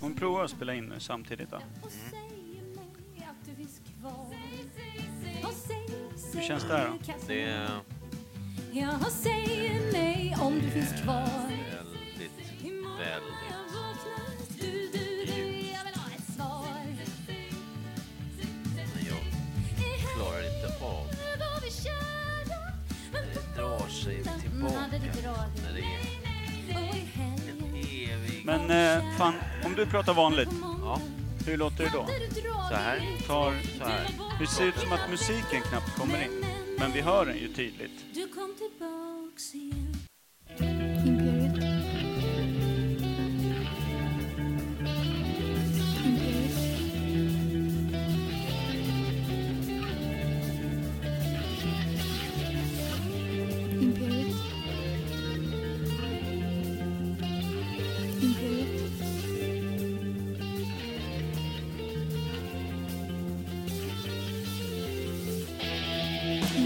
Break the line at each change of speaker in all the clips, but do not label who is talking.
Hon provar att spela in nu samtidigt då.
Hur
känns det här då?
Det
Det
är
är
Jag säger mig om du finns kvar
väldigt, väldigt... Men jag klarar inte av Det drar sig tillbaka när det är en evig...
Men eh, fan, om du pratar vanligt,
Ja,
hur låter det då?
så här.
Tar,
Så här.
det ser ut som att musiken knappt kommer in, men vi hör den ju tydligt.
Du kom tillbaks igen
Imperiet. Imperiet. Imperiet. Imperiet.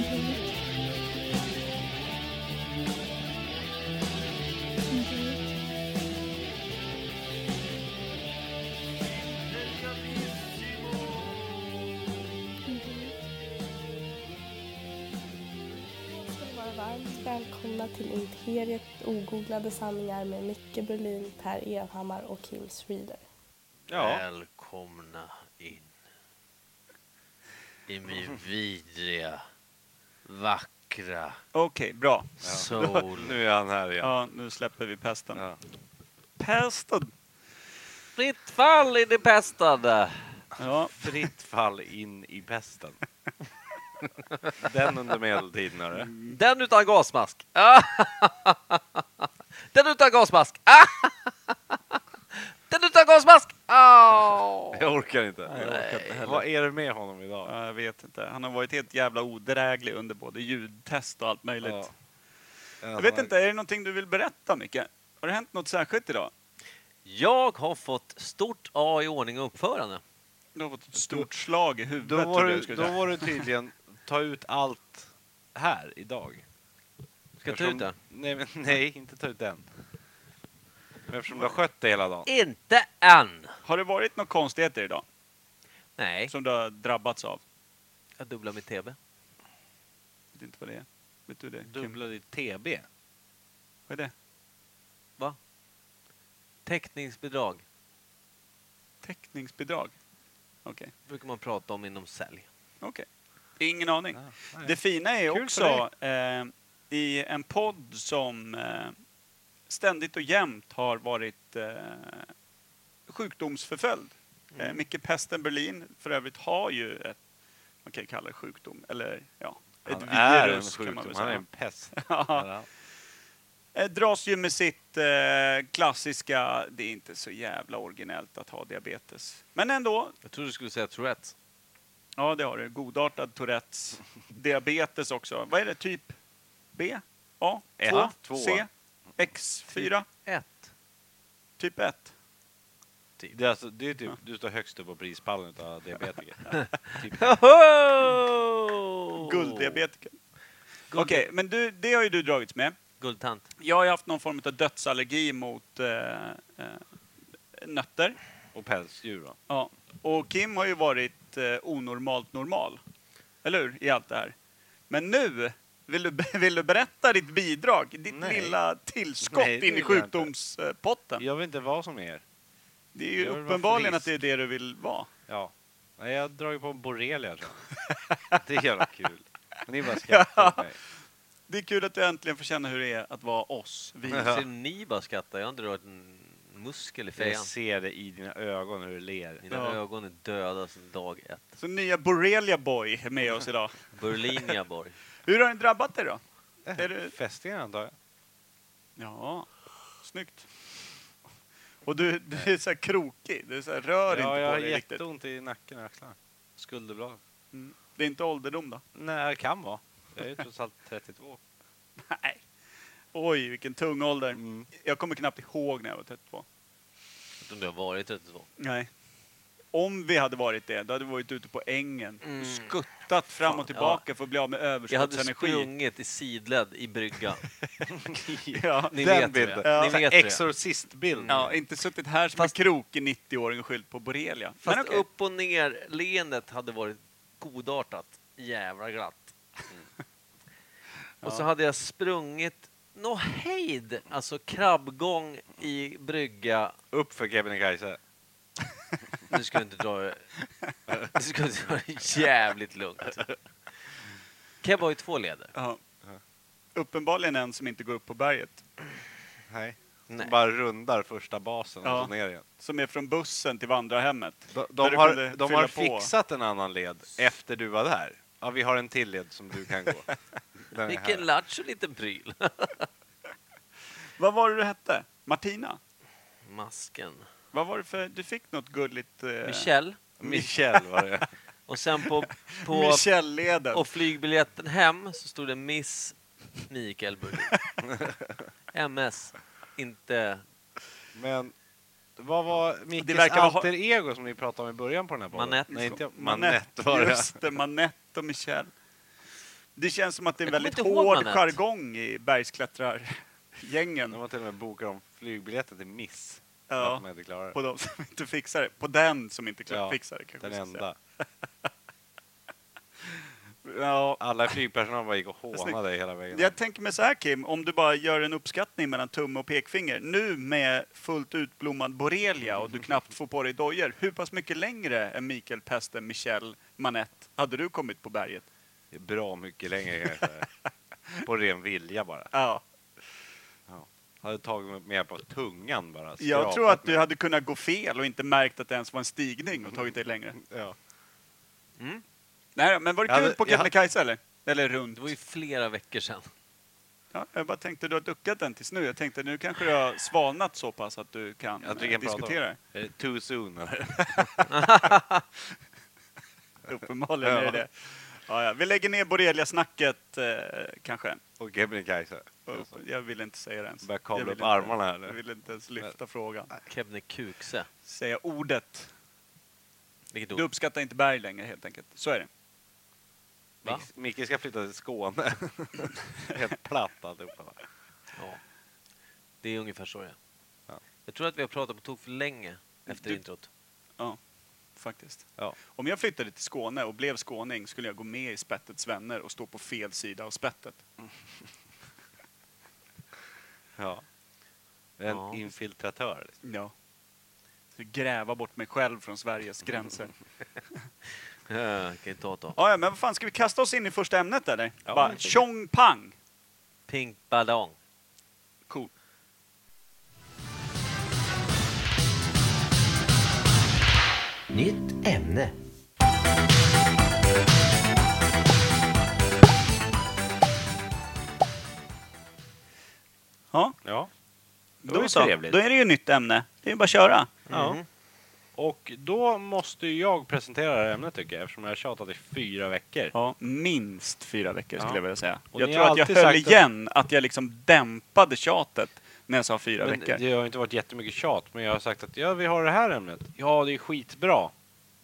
Imperiet.
ska ni vara varmt välkomna till Imperiet ogooglade sanningar med Micke Berlin, Per Evhammar och Kim Reader.
Ja,
Välkomna in i min vidriga, vackra
okej, bra.
soul.
Nu är han här igen.
Ja, nu släpper vi pesten.
Ja.
Pesten!
Fritt fall i det pestade!
Ja,
Fritt fall in i pesten. Den under medeltiden, hörru.
Den utan gasmask. Den utan gasmask. Den utan gasmask.
Jag orkar inte.
orkar inte heller.
Vad är det med honom idag?
ja, jag vet inte. Han har varit helt jävla odräglig under både ljudtest och allt möjligt.
Ja.
Jag vet inte, är det någonting du vill berätta, Micke? Har det hänt något särskilt idag?
Jag har fått stort A i ordning och uppförande.
Du har fått ett stort slag i huvudet,
Då var,
trodde jag
du,
skulle
då
säga.
var du tydligen ta ut allt här idag.
Ska jag ta ut den?
Nej, men, nej, inte ta ut den. Men eftersom du har skött det hela dagen.
Inte än.
Har det varit några konstigheter idag
Nej,
som du har drabbats av?
jag dubblar mitt TB.
Vet inte vad det är. Vet du det? Kim?
Dubbla ditt TB.
Vad är det?
Täckningsbidrag
Täckningsbidrag? Okej.
brukar man prata om inom sälj.
Okej. Ingen aning.
Ja,
Det fina är
Kul
också eh, i en podd som eh, ständigt och jämt har varit eh, sjukdomsförföljd.
Mm.
Eh, Micke Pesten Berlin för övrigt har ju ett, man kan ju kalla det sjukdom, eller ja,
Han
ett
är en
virus kan man
sjukdom,
väl säga.
han är en pest.
Ja. Eh, dras ju med sitt eh, klassiska, det är inte så jävla originellt att ha diabetes. Men ändå,
Jag trodde du skulle säga Tourettes.
ja det har du. Godartad Tourettes. Diabetes också. Vad är det? Typ B? A?
Ett.
2?
Två.
C? X4?
Ett.
Typ 1?
Det är alltså, det är typ, du står högst upp på prispallen utav diabetiker. typ.
Hoho!
Gulddiabetiker.
Guld-
Okej, men du, det har ju du dragits med.
Guldtant.
Jag har ju haft någon form av dödsallergi mot eh, eh, nötter.
Och pälsdjur då.
Ja, och Kim har ju varit eh, onormalt normal. Eller hur? I allt det här. Men nu, vill du, vill du berätta ditt bidrag? Ditt
Nej.
lilla tillskott
Nej, det
in i
vill jag inte.
sjukdomspotten?
Jag vill inte vara som er.
det är ju
jag vill vara
uppenbarligen att
frisk.
det är det du vill vara.
Ja. Nej, jag har dragit på en borrelia tror jag. Det är jävla kul. Men ni bara
Ja.
skrattar åt mig.
Det är kul att du äntligen får känna hur det är att vara oss. Vi.
Ja.
Ser ni bara skratta? Jag har inte rört en muskel i
Jag
fejan.
ser det i dina ögon hur du ler.
Mina
Ja.
ögon är döda sedan dag ett.
Så nya Borrelia Boy är med oss idag.
Berlinia Borg.
Hur har den drabbat dig då?
Äh,
Är du-
Fästingar antar jag.
Ja, snyggt. Och du, du är så här krokig, du är så här, rör
Ja, jag
inte
har
på dig riktigt.
jätteont i nacken och axlarna. Skulderblad.
Mm. Det är inte ålderdom då?
Nej, det kan vara. Jag är ju trots allt 32.
Nej. Oj, vilken tung ålder.
Mm.
Jag kommer knappt ihåg när jag var 32.
Jag vet inte om du har varit 32.
Nej. Om vi hade varit det, då hade vi varit ute på ängen
Mm.
och skuttat puttat fram och tillbaka för att bli av med
Jag hade
överskottsenergi.
sprungit i sidled i bryggan.
Ja.
Ni
Den
vet
bilden.
det. Ni
Så här
vet det.
Exorcistbild.
ja, inte suttit här som
Fast-
en krokig 90-åring och skyllt på borrelia.
Fast
Men okej.
upp och ner leendet hade varit godartat. Jävla glatt. Mm. Och så hade jag sprungit nå hejd, alltså krabbgång i brygga.
Upp för Kebnekaise.
Nu ska du inte dra det- nu ska du dra det jävligt lugnt. Keb har ju två leder.
Ja. Uppenbarligen en som inte går upp på berget.
Nej.
Nej.
Bara rundar första basen
Ja.
och så ner igen.
Som är från bussen till vandrarhemmet.
De,
Där
de
du
har,
kunde
de
fylla
har
på.
fixat en annan led efter du var där. Ja, vi har en till led som du kan gå. Den är
Vilken
här.
lattjo liten pryl.
Vad var det du hette? Martina?
Masken.
Vad var det för... Du fick något gulligt... Eh...
Michel.
Michel var det.
Och sen på, på
Michelle-leden.
och flygbiljetten hem så stod det Miss Mikael Burlin. MS. Inte...
Men vad var
Det
Mickes
verkar vara-
alter ego som ni pratade om i början på den här podden?
Manette.
Nej, inte
Manette
Manette var det.
Just det, Manette och Michel. Det känns som att det är en
Jag kommer
väldigt
inte ihåg
hård
Manette.
jargong i bergsklättrargängen.
De har till och med bokat om flygbiljetten till Miss.
Ja.
För att de inte klarar
På
det.
de som inte fixar det. På den som inte
Ja,
fixar det. kanske
Den
jag ska
enda.
säga. Ja.
Alla i flygpersonal bara gick och
är
hånade hela vägen.
Jag tänker mig så här Kim, om du bara gör en uppskattning mellan tumme och pekfinger. Nu med fullt utblommad borrelia och du knappt får på dig dojor. Hur pass mycket längre än Mikael Pesten, Michel, Manette hade du kommit på berget?
Det är bra mycket längre kanske. På ren vilja bara.
Ja.
Hade tagit mig med hjälp av tungan bara.
Jag
skrapat
tror att
mig.
du hade kunnat gå fel och inte märkt att det ens var en stigning och tagit dig längre.
Ja.
Nej, men var det
Jag
kul
hade-
på
jag hade-
Kebnekaise eller? Eller runt?
Det var ju flera veckor sedan.
Ja, jag bara tänkte du har duckat den tills nu. Jag tänkte nu kanske du har svalnat så pass att du kan
Jag
eh,
tycker jag
diskutera det.
pratar om. Är det too soon eller?
Uppenbarligen är det
Ja.
det. Ja, ja. Vi lägger ner borrelia-snacket eh, kanske.
Och Kebnekaise.
Och Jag vill inte säga det ens.
Börjar kavla
Jag vill
upp
inte-
armarna här nu.
Jag vill inte ens lyfta frågan.
Kebnekaise.
Säga ordet.
Vilket
Du
ord?
uppskattar inte berg längre helt enkelt. Så är det.
Va?
Mick- Micke ska flytta till Skåne. Helt platt alltihopa. va?
Ja. Det är ungefär så det är.
Ja.
Jag tror att vi har pratat på tok för länge efter
Du-
introt.
Ja, faktiskt.
Ja.
Om jag flyttade till Skåne och blev skåning skulle jag gå med i spettets vänner och stå på fel sida av spettet.
ja. En
Ja.
infiltratör. Liksom.
Ja. Så gräva bort mig själv från Sveriges gränser.
Eh, Kan inte ta ett tag.
Ja, ja, men vad fan, ska vi kasta oss in i första ämnet eller?
Ja,
Bara
jag tycker-
tjong pang!
Pink ballong.
Cool.
Nytt ämne.
Ja,
Ja.
då,
var ju
så.
trevligt.
Då är Mm. det ju nytt ämne. Det är ju bara att köra.
ja. Och då måste ju jag presentera det här ämnet tycker jag eftersom jag har tjatat i fyra veckor.
Ja, minst fyra veckor skulle
Ja.
jag vilja säga.
Och
jag
ni
tror
har
att jag
alltid
höll
sagt att-
igen, att... jag liksom dämpade tjatet när jag sa fyra
Men
veckor.
det har inte varit jättemycket tjat men jag har sagt att ja, vi har det här ämnet. Ja, det är skitbra.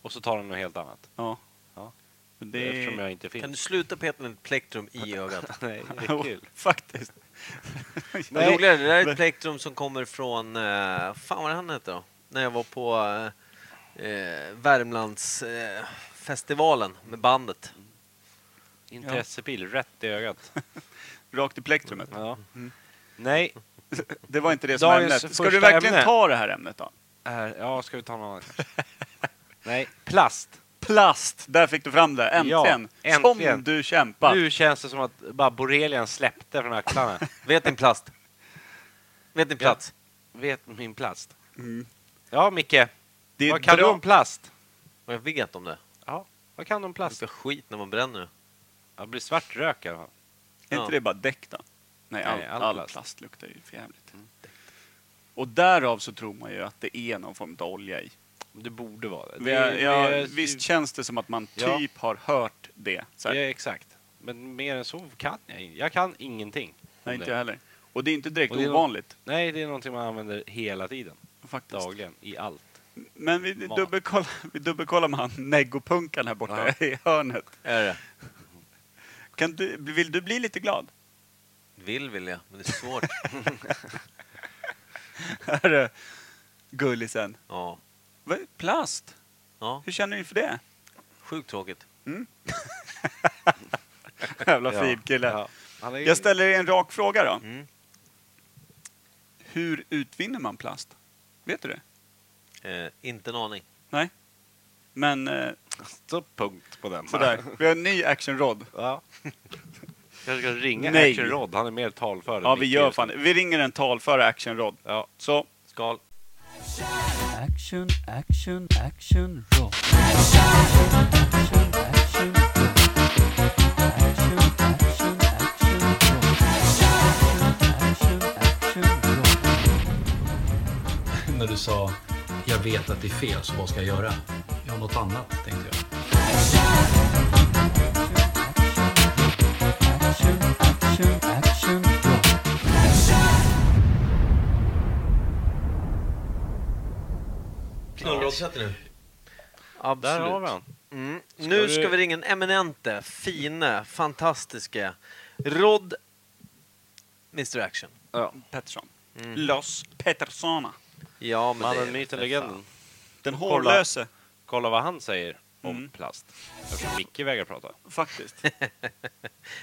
Och så tar de något helt annat.
Ja.
Ja.
Men Det...
Eftersom jag inte finns.
Mm-hmm. Kan du sluta peta med ett plektrum i ögat?
Nej, det
Jo,
är kul.
Faktiskt.
Nej.
Nej.
Roligare, det där är ett plektrum som kommer från... eh, fan vad han hette då? När jag var på eh, eh, Värmlandsfestivalen eh, festivalen med bandet.
Intressepil, rätt i ögat.
Rakt i plektrumet.
Ja.
Mm.
Nej.
Det var inte det som var
Dagens
ämnet. Ska
första
du verkligen
ämne.
ta det här ämnet då?
Här, äh, ja, ska vi ta någon annan kanske? Nej, plast.
Plast! Där fick du fram det. Äntligen!
Ja,
Som
äntligen.
du kämpat.
Nu känns det som att bara borrelian släppte från axlarna.
Vet din plast? Vet din plats?
Vet min plast. Ja, Micke.
Mm. det
Vad kan
bra.
du om plast?
Och jag vet om det.
Ja, vad kan du om
Det
plast?
luktar skit när man bränner det.
Ja, Det blir svart rök i alla fall.
Är inte
Ja.
det bara däck då? Nej, all,
Nej,
all,
all
plast.
plast.
luktar ju för jävligt. Och därav så tror man ju att det är någon form av olja i.
Det borde vara det.
Vi
Det
har,
är-
ja,
det är-
visst känns det som att man
Ja.
typ har hört det. Så här.
Ja, exakt. Men mer än så kan jag inte. Jag kan ingenting. om
Nej, inte
det.
jag heller. Och det är inte direkt
Och det är
ovanligt.
Nej, det är någonting man använder hela tiden.
Faktiskt.
Dagligen. I allt.
Men vi
Mat.
dubbelkollar, vi dubbelkollar med han negopunkan här borta
Ja.
i hörnet.
Är det?
Kan du, vill du bli lite glad?
Vill vill jag, men det är svårt.
Här är gullisen.
ja.
Vad- Plast?
ja,
Hur känner du inför det?
sjukt tråkigt.
Jävla fin kille.
Ja. Han är ju...
Jag ställer er en rak fråga då.
Mm.
Hur utvinner man plast? Vet du det?
Eh, inte en aning.
Nej? Men eh,
Så punkt på den.
sådär, vi har en ny actionrod.
Ja. Jag ska ringa
Nej.
Action Rod, han är mer talför än
Ja, vi
Micke
gör
just
fan
nu.
det. Vi ringer en talföre actionrod.
Ja.
Så,
Skal.
Action, action, action, roll. Action, action, roll. Action, action, action, roll. Action, action, action, roll.
när du sa jag vet att det är fel så vad ska jag göra? Jag har något annat tänkte jag.
Action, action, action, roll.
Knullroddsätter nu.
Där
Absolut.
har vi han.
Mm. nu
du-
ska vi ringa en eminente, fine, fantastiske Rod Mr Action.
Pettersson.
Mm.
Los Petterssona.
Ja, men det är
Mannen,
det för
myten, legenden.
fan.
Den
Kolla.
hårlöse,
Kolla vad han säger om
Mm.
plast. Eftersom Micke vägrar prata.
faktiskt.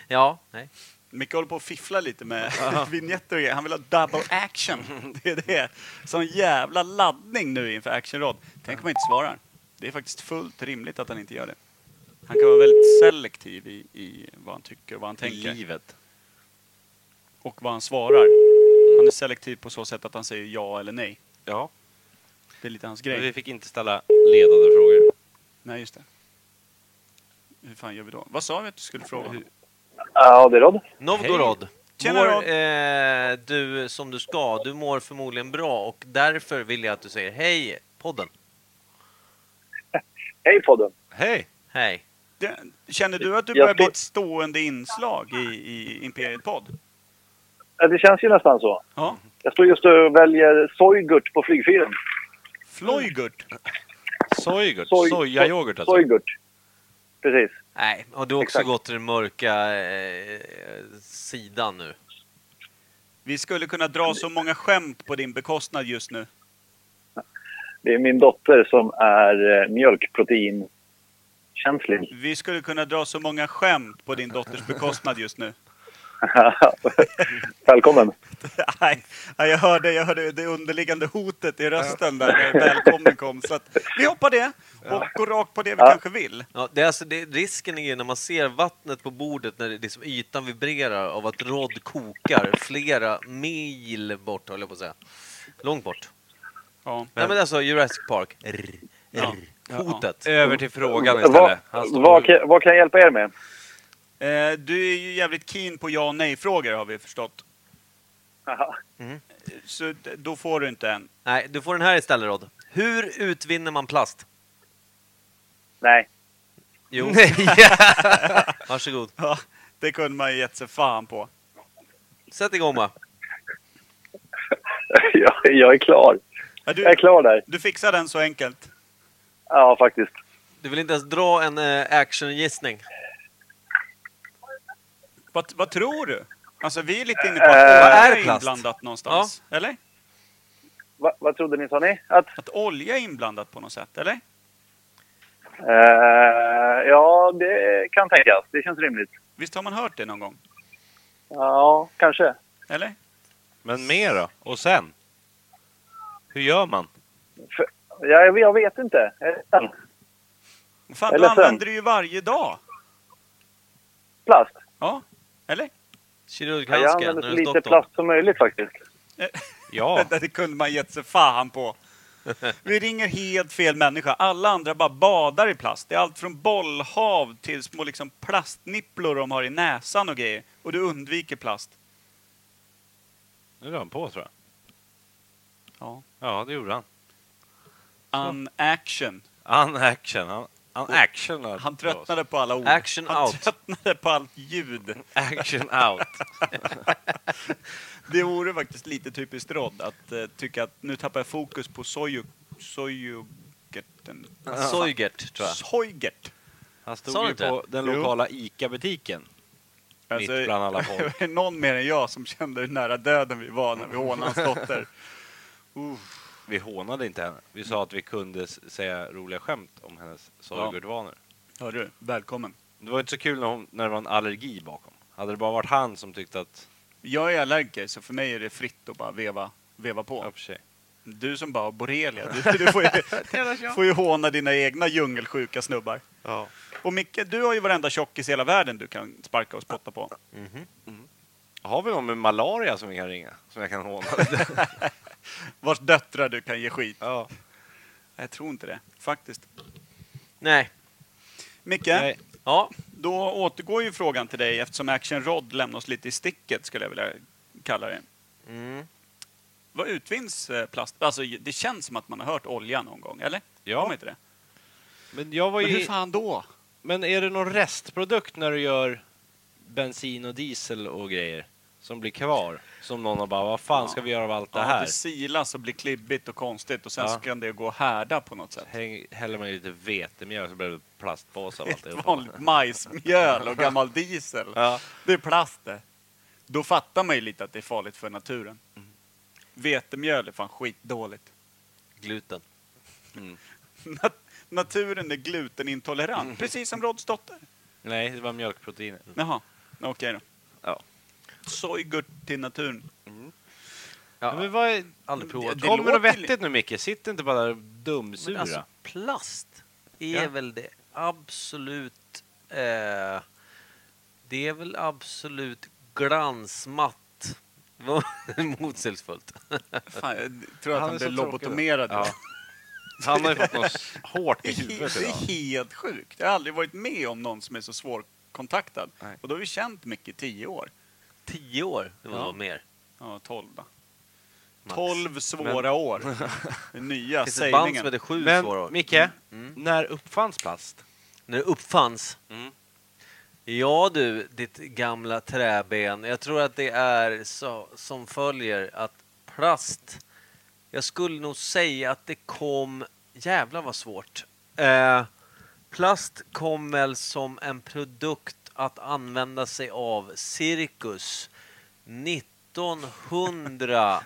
Ja, nej.
Micke håller på att fiffla lite med vignetter och grejer. Han vill ha double action. Det är det. Sån jävla laddning nu inför actionrad. Tänk om han inte svarar. Det är faktiskt fullt rimligt att han inte gör det. Han kan vara väldigt selektiv i, i vad han tycker och vad han
I
tänker.
livet.
Och vad han svarar. Han är selektiv på så sätt att han säger ja eller nej.
Ja.
Det är lite hans
Men vi
grej.
fick inte ställa ledande frågor.
Nej, just det. Hur fan gör vi då? Vad sa vi att du skulle fråga?
Ja, det är Rod.
Novgorod.
Tjena, Rod.
mår, eh, du som du ska. Du mår förmodligen bra och därför vill jag att du säger hej podden.
Hej podden!
Hej!
Hej.
Det- Känner du att du
Jag
börjar bli
tror-
ett stående inslag i, i Imperiet Podd?
Ja, Det känns ju nästan så.
Ja.
Jag står just och väljer sojgurt på flygfyren.
Flojgurt.
Sojgurt.
Soj-
Sojayoghurt alltså.
Sojgurt. Precis.
Nej, har du också
Exakt.
gått till den mörka eh, sidan nu?
Vi skulle kunna dra så många skämt på din bekostnad just nu.
Det är min dotter som är eh, mjölkproteinkänslig.
Vi skulle kunna dra så många skämt på din dotters bekostnad just nu.
Välkommen!
Nej, nej, jag hörde, jag hörde det underliggande hotet i rösten där när välkommen kom. Så att vi hoppar det och går rakt på det vi
Ja.
kanske vill.
Ja, det är alltså, det, risken är ju när man ser vattnet på bordet när det, liksom, ytan vibrerar av att rodd kokar flera mil bort, höll jag på att säga. Långt bort.
Ja.
Nej men Eh, alltså Jurassic Park. Rr,
Ja.
rr, hotet.
Över till frågan
Vad,
istället. Han står-
vad, kan, vad kan jag hjälpa er med?
Eh, Du är ju jävligt keen på ja och nej-frågor har vi förstått.
Aha.
Så d- då får du inte en.
Nej, du får den här istället Rod. Hur utvinner man plast?
Nej.
Jo. Varsågod.
Ja, det kunde man ju gett sig fan på.
Sätt igång bara.
Jag, jag är klar.
Ja,
Jag
Du,
är klar där.
du fixar den så enkelt.
Ja, faktiskt.
Du vill inte ens dra en eh, actiongissning?
Vad, vad tror du? Alltså vi är lite inne på
Eh.
att olja
är
är
plast?
inblandat någonstans. Eller?
Va, vad trodde ni, sa ni? Att,
Att olja är inblandat på något sätt, eller?
eh, ja, det kan tänkas. Det känns rimligt.
Visst har man hört det någon gång?
Ja, kanske.
Eller?
Men mer då? Och sen? Hur gör man?
Ja, jag, jag vet inte. Eh,
Fan,
Jag är
du
ledsen.
använder det ju varje dag.
Plast.
Ja. Eller?
Ja, jag
Kirurghandske?
använder
När
så
du
lite
stått
plast som möjligt faktiskt.
Ja.
Det, det kunde man gett sig fan på. Vi ringer helt fel människa. Alla andra bara badar i plast. Det är allt från bollhav till små liksom plastnipplor de har i näsan och grejer. Och du undviker plast.
Nu rör han på tror jag.
Ja.
Ja, det gjorde han.
Unaction.
Han action. Han, han action.
Han tröttnade på alla ord.
Action
Han
out.
tröttnade på allt ljud.
Action out.
Det vore faktiskt lite typiskt Rod att eh, tycka att nu tappar jag fokus på soju, Sojugerten.
Soygert, tror jag.
Sojgert.
Han
Sa
stod
du
ju
inte?
på den
Jo.
lokala ICA-butiken. Mitt bland alla folk.
det är Alltså, någon mer än jag som kände hur nära döden vi var när vi hånade hans dotter. Uff.
Vi hånade inte henne. Vi sa att vi kunde s- säga roliga skämt om hennes sorgurdvanor.
Hör du, välkommen.
Det var inte så kul när, hon, när det var en allergi bakom. Hade det bara varit han som tyckte att...
Jag är allergiker så för mig är det fritt att bara veva, veva på.
Ja, för sig.
Du som bara har borrelia, du, du får, ju, får ju håna dina egna djungelsjuka snubbar.
Ja.
Och Micke, du har ju varenda tjockis i hela världen du kan sparka och spotta på.
Har vi någon med malaria som vi kan ringa? Som jag kan håna lite?
Vars döttrar du kan ge skit.
ja.
Jag tror inte det, faktiskt.
Nej.
Micke,
Nej.
Ja,
då återgår ju frågan till dig eftersom Action Rod lämnar oss lite i sticket, skulle jag vilja kalla det.
Mm.
Vad utvinns eh, plast? Alltså, det känns som att man har hört olja någon gång, eller?
Ja.
Har man inte det?
Men jag var
Men
ju...
hur fan då?
Men är det någon restprodukt när du gör bensin och diesel och grejer som blir kvar? Som någon har bara, vad fan ska vi göra av allt det
Ja,
här?
det silas och blir klibbigt och konstigt och sen
Ja.
så kan det gå att härda på något sätt.
Häng, häller man i lite vetemjöl så blir det plastpåsar av
Ett
alltihopa.
vanligt majsmjöl och gammal diesel.
Ja.
Det är plast det. Då fattar man ju lite att det är farligt för naturen.
Mm.
Vetemjöl är fan skitdåligt.
gluten.
Nat- naturen är glutenintolerant,
Mm.
precis som Rods dotter.
Nej, det var mjölkproteiner.
Jaha, okej då.
Ja.
Sojgurt till naturen.
Ja,
Men vad är...
aldrig provat.
det-
Kom med
låter
något vettigt nu Micke, sitt inte bara där och
Men
dumsura.
alltså, plast är
Ja.
väl det absolut... Eh, det är väl absolut glansmatt. Vad Motsägelsefullt.
Fan, jag tror att
Han
han, blev
är så tråkig
lobotomerad.
Ja. Han har ju fått något hårt i huvudet
Det
idag.
är helt sjukt. Jag har aldrig varit med om någon som är så svårkontaktad.
Nej.
Och då har vi känt Micke i tio år.
Tio år, det var
Ja.
nog mer.
Ja, tolv då.
Max.
Tolv svåra år. Den nya
Det finns ett band som
sägningen.
heter Sju svåra år.
Men Micke, när uppfanns plast?
När det uppfanns.
Mm.
Ja du, ditt gamla träben. Jag tror att det är så, som följer att plast... Jag skulle nog säga att det kom... Jävlar vad svårt. Eh, plast kom väl som en produkt att använda sig av cirkus 1900.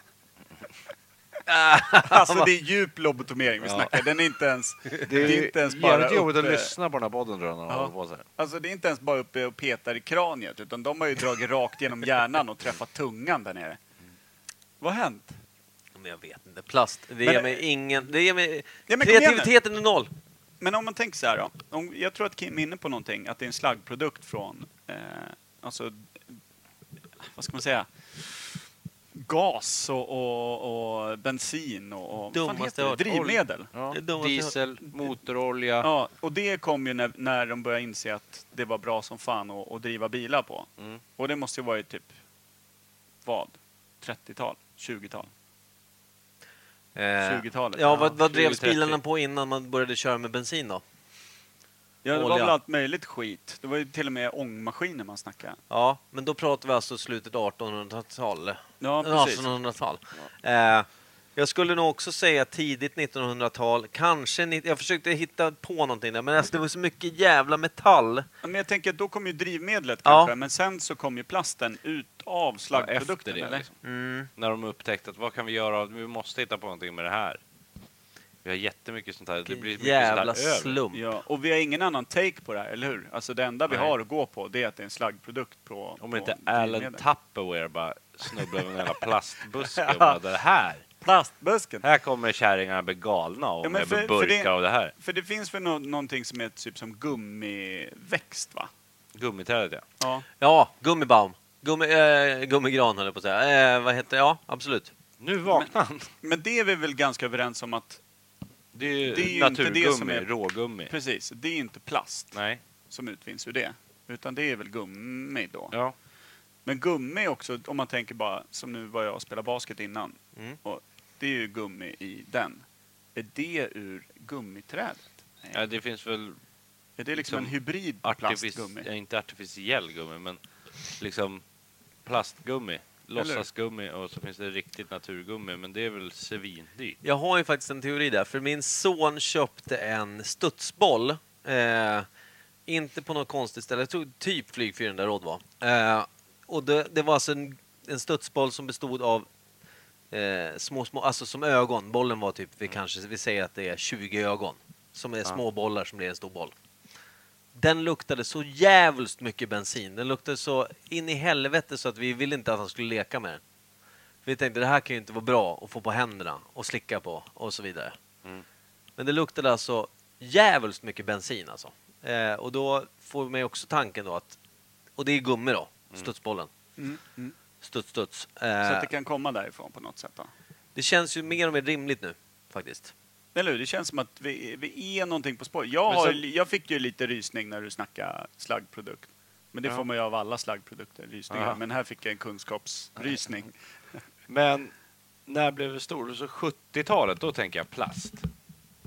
Alltså det är djup lobotomering vi snackar. Den är inte ens... Det är inte ens bara
jobbigt att
uppe-
lyssna på den här podden tror jag när de
Ja.
håller på så här.
Alltså det är inte ens bara uppe och petar i kraniet utan de har ju dragit rakt genom hjärnan och träffat tungan där nere. Vad har hänt?
Men jag vet inte. Plast, det
Men-
ger mig ingen... Det ger mig...
Ja, men kom igen nu.
kreativiteten är noll.
Men om man tänker så här då. Om, jag tror att Kim är inne på någonting, att det är en slaggprodukt från, eh, alltså, vad ska man säga? Gas och, och, och bensin och, och vad fan
Dummaste
heter det?
jag hört.
drivmedel.
Ja.
Det är dummaste jag hört.
Diesel, motorolja.
Ja, och det kom ju när, när de började inse att det var bra som fan att, att driva bilar på.
Mm.
Och det måste ju varit typ, vad? 30-tal? 20-tal?
Eh,
20-talet.
Ja, vad, vad
20-30.
drevs bilarna på innan man började köra med bensin då?
Ja, det var
Olja.
väl allt möjligt skit. Det var ju till och med ångmaskiner man snackade.
Ja, men då pratar vi alltså slutet 1800-tal.
Ja, precis.
1800-tal. Eh, jag skulle nog också säga tidigt 1900-tal, kanske... Ni, jag försökte hitta på någonting där, men alltså, det var så mycket jävla metall.
Ja, Men jag tänker att då kom ju drivmedlet
Ja.
kanske, men sen så kom ju plasten ut av
efter
slaggprodukten.
det,
eller?
liksom. När de upptäckte att vad kan vi göra? av- Vi måste hitta på någonting med det här. Vi har jättemycket sånt här. Det blir mycket
Jävla
sånt här över.
slump.
Ja, och vi har ingen annan take på det här, eller hur? Alltså det enda vi
Nej.
har att gå på det är att det är en slaggprodukt på
Om
på
inte Alan
drivmedel.
Tupperware bara snubblar över en jävla plastbuske och bara, det här.
Plastbusken!
Här kommer kärringarna bli galna om
Ja, men
jag
för-
blir
för
burkar
det-
av det här.
För det finns väl nå- någonting som är typ som gummiväxt, va?
Gummiträdet ja.
Ja.
Ja, gummibaum. Gummi, eh, gummigran höll jag på att säga. Eh, vad heter Ja, absolut.
Nu vaknar han.
Men det är vi väl ganska överens om att,
Det är ju,
Det är ju inte det
naturgummi,
som är-
rågummi.
precis, det är inte plast
Nej.
som utvinns ur det. Utan det är väl gummi då.
Ja.
Men gummi också, om man tänker bara som nu var jag och spelade basket innan.
Mm.
Och det är ju gummi i den. Är det ur gummiträdet? Nej.
ja, det finns väl
Är det liksom en
liksom
hybrid
artific... eh,
plastgummi?
ja, inte artificiell gummi, men liksom plastgummi låtsasgummi och så finns det riktigt naturgummi, men det är väl svindyrt.
Jag har ju faktiskt en teori där, för min son köpte en studsboll. Eh, inte på något konstigt ställe, jag tror typ Flyg 400 råd var. Eh, och det, det var alltså en, en studsboll som bestod av eh, små, små, alltså som ögon. Bollen var typ,
Mm.
vi kanske, vi säger att det är 20 ögon. Som är små bollar som blir en stor boll. Den luktade så jävligt mycket bensin. Den luktade så in i helvete så att vi ville inte att han skulle leka med den. Vi tänkte det här kan ju inte vara bra att få på händerna och slicka på och så vidare.
Mm.
Men det luktade alltså jävligt mycket bensin alltså. Eh, och då får mig också tanken då att, och det är gummi då, studsbollen.
Mm, mm.
Studs, studs.
Så
Eh,
att det kan komma därifrån på något sätt. Då.
det känns ju mer och mer rimligt nu faktiskt.
Eller hur? Det känns som att vi, vi är någonting på spår. Jag,
Men så-
har, jag fick ju lite rysning när du snackade slaggprodukt. Men det
Ja.
får man ju av alla slaggprodukter, rysningar.
Ja.
Men här fick jag en kunskapsrysning.
Men när blev det stor? Så 70-talet, då tänker jag plast.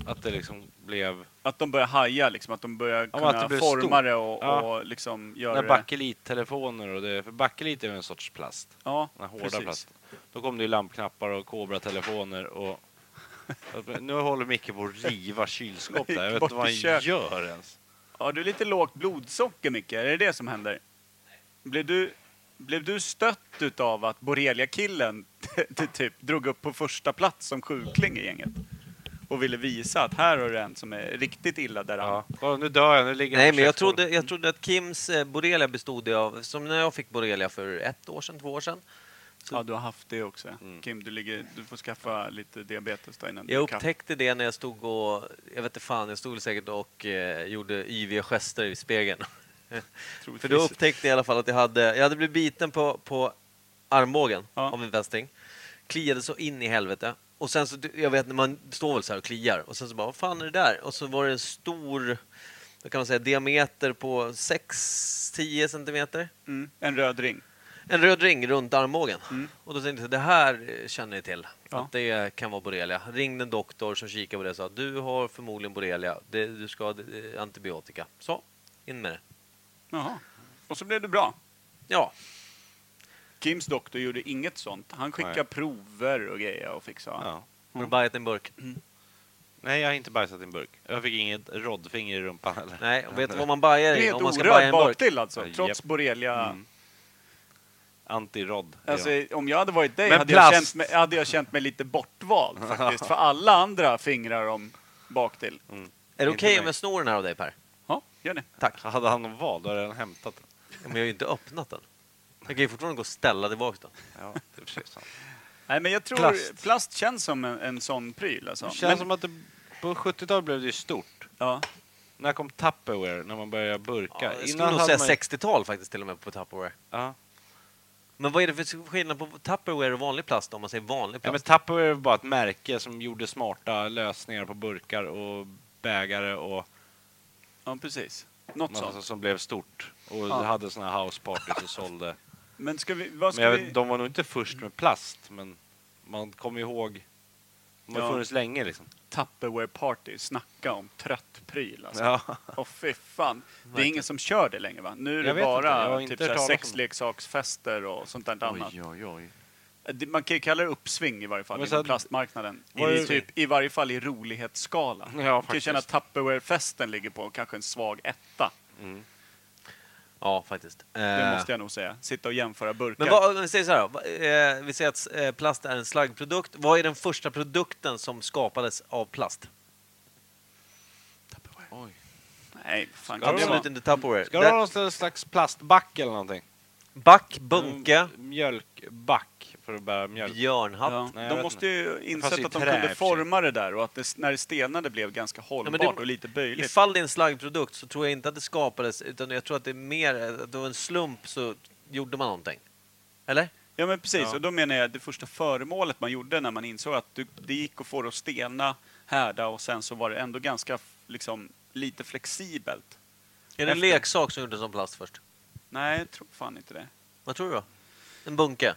Att det liksom blev...
Att de börjar haja, liksom, att de börjar
men
kunna
att det blir
forma
stort.
det och,
Ja.
och liksom göra
När
det.
bakelit-telefoner och det... För bakelit är ju en sorts plast.
Ja,
Den här hårda
precis.
plasten. Då kom det ju lampknappar och kobratelefoner och... Nu håller Micke på att riva kylskåp där. Jag vet
Bort
inte vad
i
han
köket.
gör ens.
Har du lite lågt blodsocker, Micke? Är det det som händer? Blev du, blev du stött utav att Borrelia-killen typ drog upp på första plats som sjukling i gänget? Och ville visa att här har du en som är riktigt illa däran.
Ja. Kolla, nu dör jag. Nu ligger han
Nej,
på
men jag
köksbordet.
trodde, jag trodde att Kims eh, borrelia bestod det av, som när jag fick borrelia för ett år sedan, två år sedan.
Ja, du har haft det också.
Mm.
Kim, du, ligger, du får skaffa lite diabetes då innan
Jag
du kan-
upptäckte det när jag stod och, jag vet inte fan, jag stod väl säkert och eh, gjorde yviga gester i spegeln. För då
troligtvis.
upptäckte jag i alla fall att jag hade, jag hade blivit biten på, på armbågen
Ja.
av en fästing. Kliade så in i helvete. Och sen så, jag vet när man står väl så här och kliar och sen så bara, vad fan är det där? Och så var det en stor, vad kan man säga, diameter på 6-10 centimeter.
Mm. En röd ring.
En röd ring runt armbågen. Och då tänkte jag, det här eh, känner ni till.
Ja.
Att det kan vara borrelia. Ringde en doktor som kikade på det och sa, du har förmodligen borrelia. Det- Du ska ha eh, antibiotika. Så, in med det.
Jaha. Och så blev du bra.
Ja,
Kims doktor gjorde inget sånt. Han skickade
Nej.
prover och grejer och fixade.
Ja.
har du bajat i en burk?
Nej, jag har inte bajsat i en burk. Jag fick inget roddfinger i rumpan heller.
Nej, och vet du vad man bajar
Det är
i
helt
om man ska baja i
orörd
en burk?
baktill alltså,
Ja,
trots
japp.
borrelia.
Mm. Anti-rodd. är
Alltså,
jag.
Om jag hade varit dig
Men
hade jag,
plast.
känt mig, hade jag känt mig lite bortvald faktiskt. För alla andra fingrar om baktill.
Är det
Inte
okej
mig.
om jag snor den här av dig Per?
Ja, gör det.
Tack.
Hade han någon val, då hade han hämtat den.
Ja, Men jag har ju inte öppnat den. Jag kan ju fortfarande gå och ställa tillbaka den.
Ja, det är precis sant.
Nej, men jag tror plast,
Plast.
känns som en, en sån pryl alltså.
Det känns
Men,
som att det, på 70-talet blev det ju stort.
ja.
När kom Tupperware? När man började burka?
Ja, jag skulle
Innan
nog
hade
säga
man-
60-tal faktiskt till och med på Tupperware.
Ja.
Men vad är det för skillnad på Tupperware och vanlig plast om man säger vanlig
Ja,
plast?
men Tupperware var bara ett märke som gjorde smarta lösningar på burkar och bägare och
ja, precis. Något
massa
sånt.
som blev stort. Och
Ja.
hade såna här houseparties och sålde.
Men ska vi... Vad
Men
ska
jag
vi...
vet, de var nog inte först med plast, men man kommer ihåg. De har
Ja.
funnits länge liksom.
Tupperware party, snacka om trött pryl alltså.
Ja.
Åh fy fan. Det är ingen som kör det längre va? Nu är det
Jag vet inte, jag
bara
har
typ
inte
så här
hört talas om det.
sexleksaksfester och sånt där annat.
Oj, oj, oj.
Det- Man kan ju kalla det uppsving i varje fall
Men
inom
så att-
plastmarknaden.
Var
I,
det-
typ, I varje fall i rolighetsskala.
Ja,
jag kan ju
faktiskt.
känna att Tupperware-festen ligger på kanske en svag etta.
Ja, faktiskt.
Det
Eh,
måste jag nog säga. Sitta och jämföra burkar.
Men vad, om vi säger så här då. Va- eh, Vi säger att eh, plast är en slaggprodukt. Vad är den första produkten som skapades av plast?
Nej, fan kan det
Absolut
vara?
inte Tupperware.
Ska du
Där-
ha någon slags plastback eller någonting?
Back, bunke,
Mjölkback för att bära mjölk.
björnhatt.
Mm. Ja,
Nej, jag
de
vet
måste ju
fanns
insett
ju
att de
trä i och
kunde
för sig.
forma det där och att det, när det stelnade blev ganska hållbart
det-
och lite böjligt.
Ifall det är en slaggprodukt så tror jag inte att det skapades utan jag tror att det är mer att det var en slump så gjorde man någonting. Eller?
Ja men precis,
Ja.
och då menar jag det första föremålet man gjorde när man insåg att du, det gick att få det att stena, härda och sen så var det ändå ganska liksom, lite flexibelt.
Är det en
Efter.
leksak som gjordes som plast först?
Nej, jag tror fan inte det.
Vad tror du då? En bunke?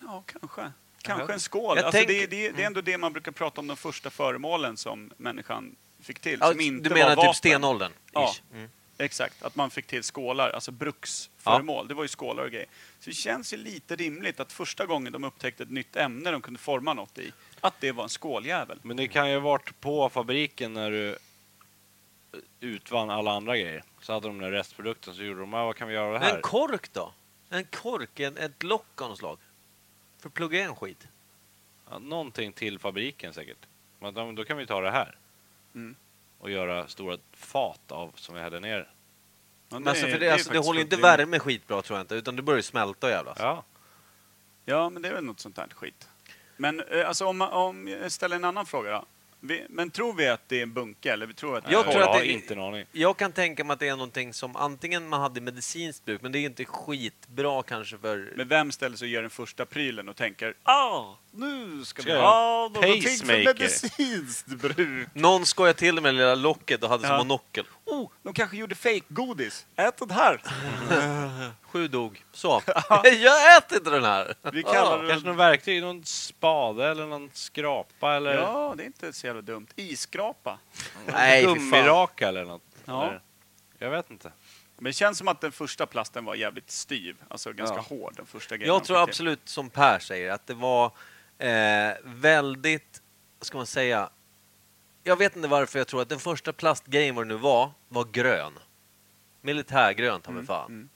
Ja, kanske. Kanske en skål.
Jag Mm.
Alltså,
tänker-
det, det, det är ändå det man brukar prata om, de första föremålen som människan fick till.
Ja,
som inte
du menar
var vapen.
typ stenåldern?
Ja.
ish. Mm.
Exakt, att man fick till skålar, alltså bruksföremål. Det var ju skålar och grejer. Så det känns ju lite rimligt att första gången de upptäckte ett nytt ämne de kunde forma något i, att det var en skåljävel.
Men det kan ju ha varit på fabriken när du utvann alla andra grejer. Så hade de den där restprodukten så gjorde de, "Ah, vad kan vi göra av det
Men en
här?
kork då? En kork, en, ett lock av något slag? För att plugga in skit?
Ja, någonting till fabriken säkert. Men de- då kan vi ta det här.
Mm.
Och göra stora fat av som vi hade ner.
Ja,
Men alltså,
är-
för det,
är
alltså, det
faktiskt
håller ju inte
fullt rimligt.
värme skitbra tror jag inte, utan det börjar ju smälta och jävlas.
Ja.
Ja, men det är väl något sånt här skit. Men eh, alltså om, man- om jag ställer en annan fråga då. Vi, men tror vi att det är en bunke eller vi tror att det är
Jag
en
tror
korg?
att
har
det-
inte en aning.
Jag kan tänka mig att det är någonting som antingen man hade i medicinskt bruk, men det är ju inte skitbra kanske för...
Men vem ställer sig och gör den första prylen och tänker ah, nu ska
Ska
vi
jag
ha någonting för
pacemaker?"
medicinskt bruk.
Någon skojade till det med det lilla locket och hade
Ja.
som en nockel.
Oh, de kanske gjorde fake godis Ät den här!
Sju dog. Så. jag äter inte den här! Ah!
Vi kallar det...
Kanske någon verktyg, någon spade eller någon skrapa eller
Ja, det är inte så jävla dumt. Iskrapa.
Nej, fy fan.
gummiraka eller något.
Ja.
Eller, jag vet inte.
Men det känns som att den första plasten var jävligt styv. Alltså ganska hård, den första grejen.
Jag
de
tror
fick till.
absolut, som Per säger, att det var eh, väldigt, vad ska man säga, jag vet inte varför jag tror att den första plastgrejen, vad det nu var, var grön. Militärgrön, ta mig fan.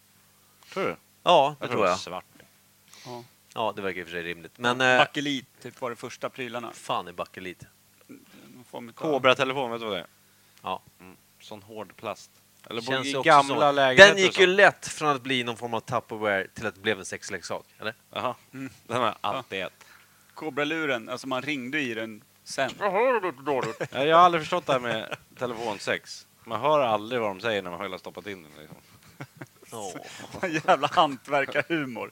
Tror du?
Ja, det tror
det är
jag.
Svart.
Ja, det verkar i och för sig rimligt. Men eh,
Bakelit typ var de första prylarna.
fan är bakelit.
Någon form utav-
Kobra-telefon, vet du vad det är?
Ja.
Sån hård plast. Eller
Känns ju
på
också
gamla
så.
lägenheter
Den gick
och
ju
sånt.
lätt från att bli någon form av Tupperware till att det blev en sexleksak, eller?
Jaha.
Mm.
Den har jag alltid ätit.
Kobraluren, alltså man ringde i den sen.
Ja, Jag har aldrig förstått det här med telefonsex. Man hör aldrig vad de säger när man väl har stoppat in den. Liksom.
Åh.
Jävla hantverkarhumor.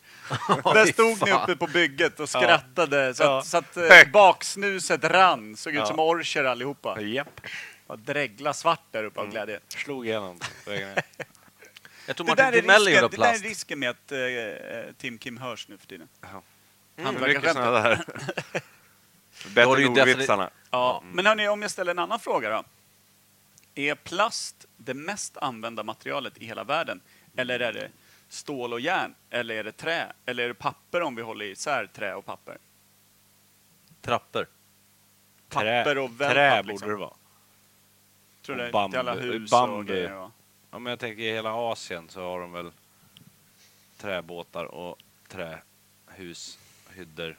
Där
fy
stod ni
fan.
uppe på bygget och skrattade så att,
Ja.
så att eh,
Högt.
baksnuset rann. Såg ut
Ja.
som orcher allihopa.
Japp.
Bara Dregla svart där uppe
Mm.
av glädje.
Slog igenom. på egen
Mm.
hand.
Jag tror
Det där,
Martin
är
Timell gjorde
risken,
av
det där är
plast.
risken med att eh, eh, Tim Kim hörs nu för tiden.
Mm,
Hantverkar
mycket
skämt.
såna där.
Då har du
Bättre
ju
än
defini-
ordvitsarna.
Ja. Men hörni, om jag ställer en annan fråga då. Är plast det mest använda materialet i hela världen? Eller är det stål och järn? Eller är det trä? Eller är det papper om vi håller isär trä och papper?
Trappor.
Papper och wellpapp,
Trä borde
liksom.
det vara.
Tror
Och
det är
bambu-
till alla hus och
bambu.
grejer. va?
Ja, men jag tänker i hela Asien så har de väl träbåtar och trähus, hyddor.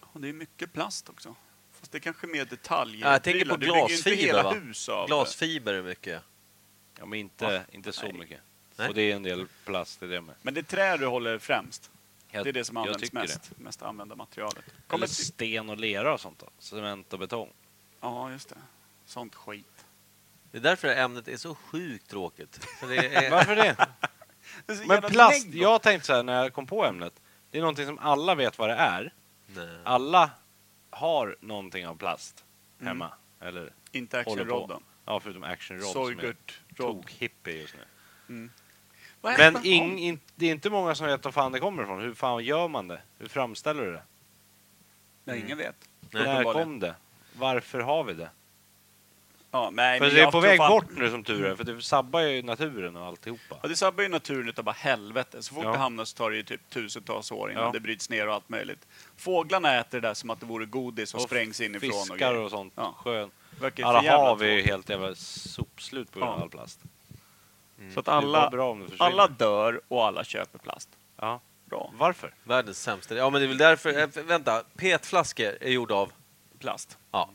Och det är mycket plast också. Fast det är kanske mer detaljer.
Ja, jag tänker på
Du bygger ju inte
glasfiber,
hela
va?
hus av det.
Glasfiber är mycket.
Ja, men inte, inte så mycket.
Nej.
Och det är en del plast i det med.
Men det är trä du håller främst.
Jag-
det är det som
jag
används
tycker
mest. Mest använda materialet.
Det. Eller
Kommer till...
sten och lera och sånt då. Cement och betong.
Ja, just det. Sånt skit.
Det är därför det här ämnet är så sjukt tråkigt. För det är,
Varför det?
Det är så
Men
jävla
plast,
neggo.
jag tänkte så här när jag kom på ämnet. Det är någonting som alla vet vad det är.
Nej.
Alla har någonting av plast
Mm.
hemma. Eller
Inte
håller på.
actionrodden.
Ja, förutom Action Rod som är
Soygurt-rodd.
tokhippie just nu.
Vad är
Men
det?
ing, in, det är inte många som vet var fan det kommer ifrån. Hur fan gör man det? Hur framställer du det?
Nej, ingen vet.
När
Uppenbarligen.
kom det? Varför har vi det?
Ja, nej,
För
men
det är
jag
på
tror
väg
fan-
bort nu som tur är, för det sabbar ju naturen och alltihopa.
Ja, det sabbar ju naturen utav bara helvete. Så fort
Ja.
det hamnar så tar det ju typ tusentals år innan
Ja.
det bryts ner och allt möjligt. Fåglarna äter det där som att det vore godis och, sprängs inifrån och
Fiskar
grejer.
och sånt.
Ja.
Sjön.
Verkar ju
Alla
för jävla
hav är ju
tråkigt.
helt jävla sopslut på grund av
Ja.
all plast.
Så att
Det är bara
alla,
bra om det försvinner.
alla dör och alla köper plast.
Ja.
Bra.
Varför?
Världens sämsta. Ja, men det är väl därför... Äh, vänta, PET-flaskor är gjorda av...
Plast.
Ja.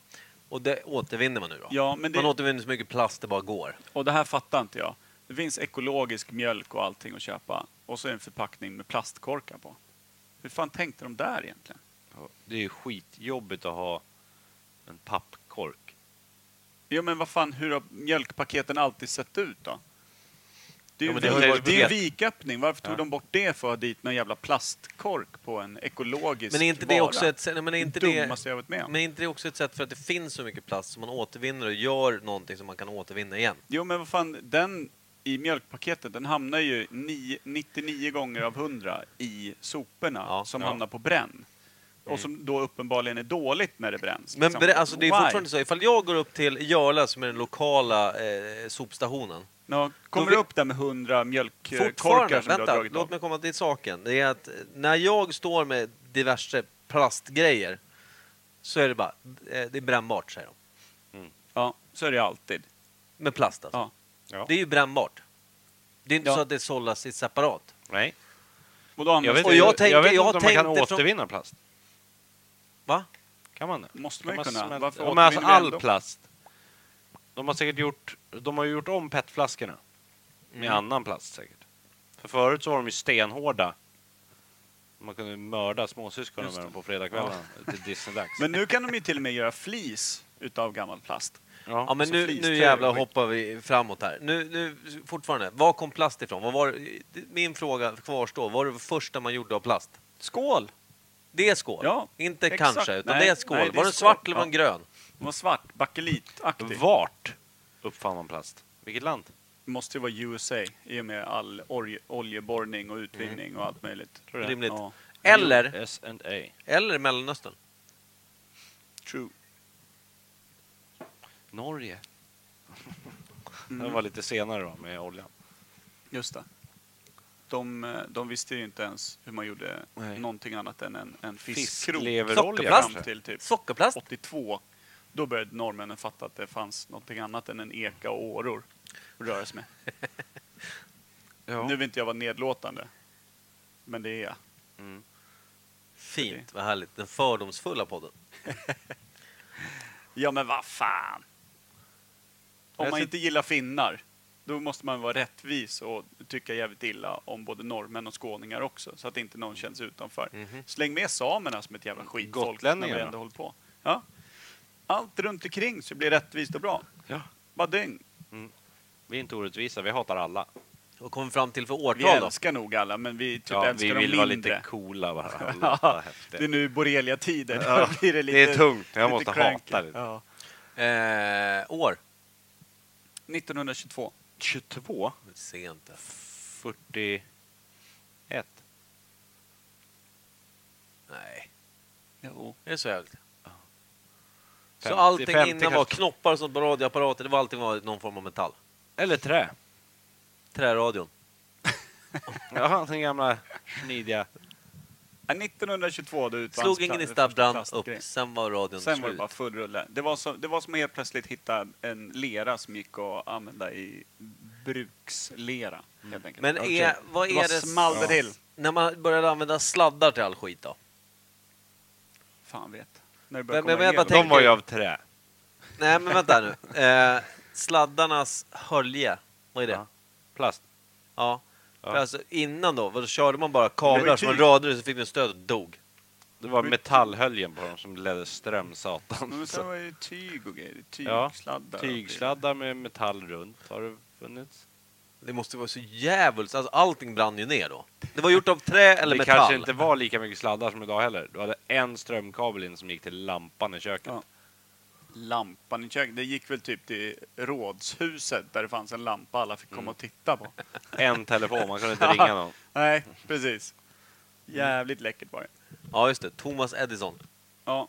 Och det återvinner man nu då?
Ja, men det-
Man återvinner så mycket plast det bara går.
Och det här fattar inte jag. Det finns ekologisk mjölk och allting att köpa. Och så är det en förpackning med plastkorkar på. Hur fan tänkte de där egentligen?
Det är ju skitjobbigt att ha en pappkork.
Ja men vad fan, hur har mjölkpaketen alltid sett ut då? Det är ju
Ja, men
det
det har ju varit
det är ju
vet-
viköppning. Varför tog de bort det för att ha dit någon jävla plastkork på en ekologisk
Men är inte det
vara?
också ett sätt... nej, Men är inte det,
dummaste jag varit med om.
men är inte det också ett sätt för att det finns så mycket plast som man återvinner och gör någonting som man kan återvinna igen?
Jo men vad fan, den i mjölkpaketet, den hamnar ju ni- 99 gånger av 100 i soporna
Ja. Mm.
som
Ja.
hamnar på bränn. och som då uppenbarligen är dåligt när det bränns.
Men
liksom.
ber- alltså, det är
Why?
fortfarande så, ifall jag går upp till Jarla som är den lokala eh, sopstationen.
Ja, kommer
Då vi-
upp där med hundra mjölkkorkar
Fortfarande,
som du har
vänta,
dragit
låt
av.
mig komma till saken. Det är att eh, när jag står med diverse plastgrejer så är det bara, eh, det är brännbart säger de.
Ja, så är det alltid.
Med plast alltså.
Ja.
Ja.
Det är ju brännbart. Det är inte
Ja.
så att det sållas i separat.
Nej.
Och då
Jag
används
vet,
det
Och
ju-
jag
jag
tänker-
jag vet
jag
inte om man kan
tänkte från-
återvinna plast.
Va?
Kan man det?
Måste
Kan
man ju kunna.
smälta-
Varför
ja, men alltså
återvinner vi
all
ändå?
plast. De har säkert gjort, de har ju gjort om PET-flaskorna. Med annan plast säkert. För förut så var de ju stenhårda. Man kunde mörda småsyskonen med dem på fredagskvällarna till Disneydags.
Men nu kan de ju till och med göra flis utav gammal plast.
ja.
Ja men
så
nu,
flis,
nu
det är
jävlar
skit.
hoppar vi framåt här. Nu, nu, fortfarande, var kom plast ifrån? Vad var, min fråga kvarstår, vad var det första man gjorde av plast?
Skål!
Det är skål.
Ja,
inte
exakt.
kanske, utan
Nej,
det är skål.
nej, det
var
är
den
skål.
svart eller var den
Ja.
grön?
Den var svart, bakelitaktig.
Vart uppfann man plast? Vilket land?
Det måste ju vara USA i och med all orje, oljeborrning och utvinning och allt möjligt.
du det?
Rimligt.
Ja,
Eller,
S&A.
eller Mellanöstern.
true.
Norge.
Mm.
Det var lite senare då med oljan.
Just det. De, eh, de visste ju inte ens hur man gjorde
Nej.
någonting annat än en, en fiskkrok.
Fiskleverolja
Sockerplast.
Fram till typ
Sockerplast.
82. Då började norrmännen fatta att det fanns någonting annat än en eka och åror att röra sig med.
Ja.
Nu vill inte jag vara nedlåtande. Men det är jag.
Fint, vad härligt. Den fördomsfulla podden.
Ja men vad fan! Om
Jag
man
ser-
inte gillar finnar, då måste man vara rättvis och tycka jävligt illa om både norrmän och skåningar också, så att inte någon känns utanför. Släng med samerna som ett jävla skitfolk när vi
Mhm. Gotlänningarna.
ändå håller på. Ja. Allt runt omkring så blir det rättvist och bra.
Ja.
Bara dyng.
Vi är inte orättvisa, vi hatar alla.
Och kommer fram till för
Vi
årtal då?
älskar nog alla, men vi typ
Ja,
älskar
vi
dem
vill
mindre.
vara lite coola bara.
Ja,
Låta häftiga.
det är nu borrelia-tider.
Ja,
Då blir det, lite,
det är tungt. Jag
lite
måste
cranky.
hata lite.
Ja.
Eh, år?
1922.
22,
Sent.
41.
Nej,
Jo.
är det så högt? Så
50,
allting
50
innan var
kanske.
knoppar som på radioapparater, det var allting var någon form av metall.
Eller trä.
Träradion.
Ja, den gamla smidiga.
Ja, 1922 då utvanns
Slog ingen
pla-
i stab, brann
plastgrejen.
upp, sen var radion
Sen var det
slut.
bara full rulle. Det var, som, det var som att helt plötsligt hitta en lera som gick att använda i brukslera. Helt enkelt.
Men är, vad
Mm. Det
är
var
det...
small det till.
När man började använda sladdar till all skit då?
Fan vet. När det började
Men- men-
komma
men jag
el.
bara
De var ju av trä.
Nej, men vänta nu. Eh, sladdarnas hölje, vad är det?
Ja. Plast.
Ja.
Ja.
För alltså, innan då, då körde man bara
Det var typ-
kablar
ju
som man
tyg.
radade så fick den stöd och dog.
Det var metallhöljen på dem som ledde ström, satan.
Men
Så-
sen var det ju tyg och grejer.
Ja,
Tygsladdar. och
Tygsladdar med metall runt har det funnits.
Det måste vara så djävulskt, alltså allting brann ju ner då. Det var gjort av trä eller
det
metall.
kanske inte var lika mycket sladdar som idag heller. Du hade en strömkabel in som gick till lampan i köket.
Ja. Lampan i köket. Det gick väl typ till rådshuset där det fanns en lampa alla fick komma och titta på.
En telefon, man kunde inte ringa någon.
Nej, precis. Jävligt läckert var det.
Ja, just det. Thomas Edison.
Ja,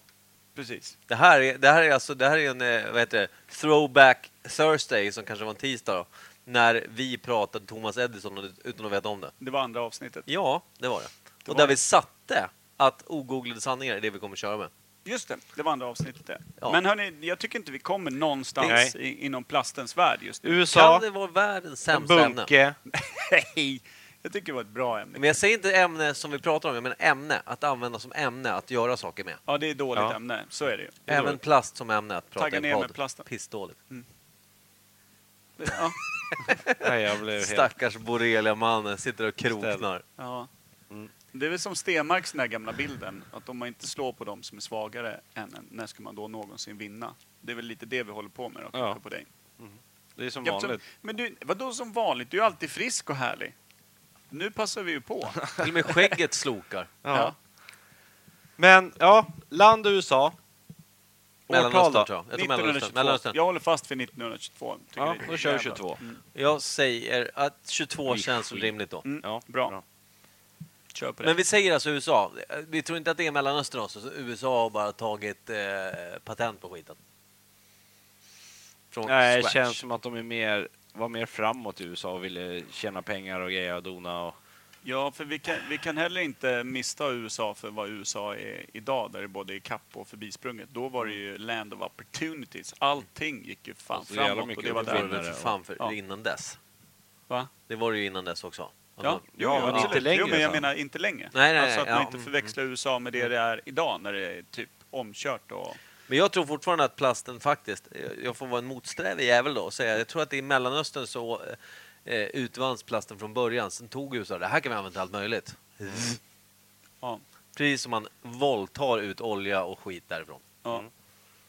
precis.
Det här är, det här är alltså, det här är en, eh, vad heter det, throwback Thursday som kanske var en tisdag då. När vi pratade Thomas Edison och- utan att veta om det.
Det var andra avsnittet.
Ja, det var det.
Det
och
var
där
det.
vi satte att ogooglade sanningar är det vi kommer köra med.
Just det, det var andra avsnittet det.
Ja.
Men hörni, jag tycker inte vi kommer någonstans i, inom plastens värld just nu.
Kan
USA,
det vara världens sämsta ämne?
bunke.
Nej, jag tycker det var ett bra ämne.
Men jag säger inte ämne som vi pratar om, jag menar ämne. Att använda som ämne, att göra saker med.
Ja, det är ett dåligt
Ja.
ämne. Så är det ju.
Även plast som ämne att prata
Tagga
i
ner
en
med
podd.
plasten.
Pissdåligt.
Ja,
Nej, jag blev helt...
Stackars borrelia-mannen sitter och kroknar.
ja.
Mm.
Det är väl som Stenmarks den där gamla bilden, att om man inte slår på dem som är svagare än en, när ska man då någonsin vinna? Det är väl lite det vi håller på med då,
Ja.
på dig.
Det är som
Ja, som,
vanligt.
men du, vadå som vanligt? Du är alltid frisk och härlig. Nu passar vi ju på.
Till och med skägget slokar.
Ja. Men ja, land och USA. Årtal
Mellanöstern
då?
tror jag. Jag tror Mellanöstern.
1922.
Mellanöstern.
Jag håller fast vid 1922. Tycker
Ja,
det är
då kör vi
jävla-
22.
Jag säger att 22
Oj,
känns
skit.
rimligt då.
Mm.
Ja,
Bra. Kör på det.
Men vi säger alltså USA. Vi tror inte att det är Mellanöstern också. Så USA har bara tagit eh, patent på skiten. Från
Nej, det
scratch.
känns som att de är mer, var mer framåt i USA och ville tjäna pengar och greja och dona. Och,
Ja, för vi kan, vi kan heller inte missta USA för vad USA är idag, där det både är kapp och förbisprunget. Då var det ju land of opportunities. Allting gick ju fan
Och så jävla
framåt och
mycket
det var
Det var
där.
uppfinnare.
det för fan för
Ja.
innan dess.
Va?
Det var det ju innan dess också.
Ja,
Alltså,
Alltså, jo,
men
absolut.
inte längre
Jo, men alltså. jag
sen.
menar inte längre.
Nej, nej,
alltså att man
ja.
inte förväxlar USA med det det är idag när det är typ omkört och...
Men jag tror fortfarande att plasten faktiskt, jag får vara en motsträvig jävel då och säga, jag tror att i Mellanöstern så eh, utvanns plasten från början. Sen tog USA det, här kan vi använda till allt möjligt.
Ja.
Precis som man våldtar ut olja och skit därifrån.
Ja.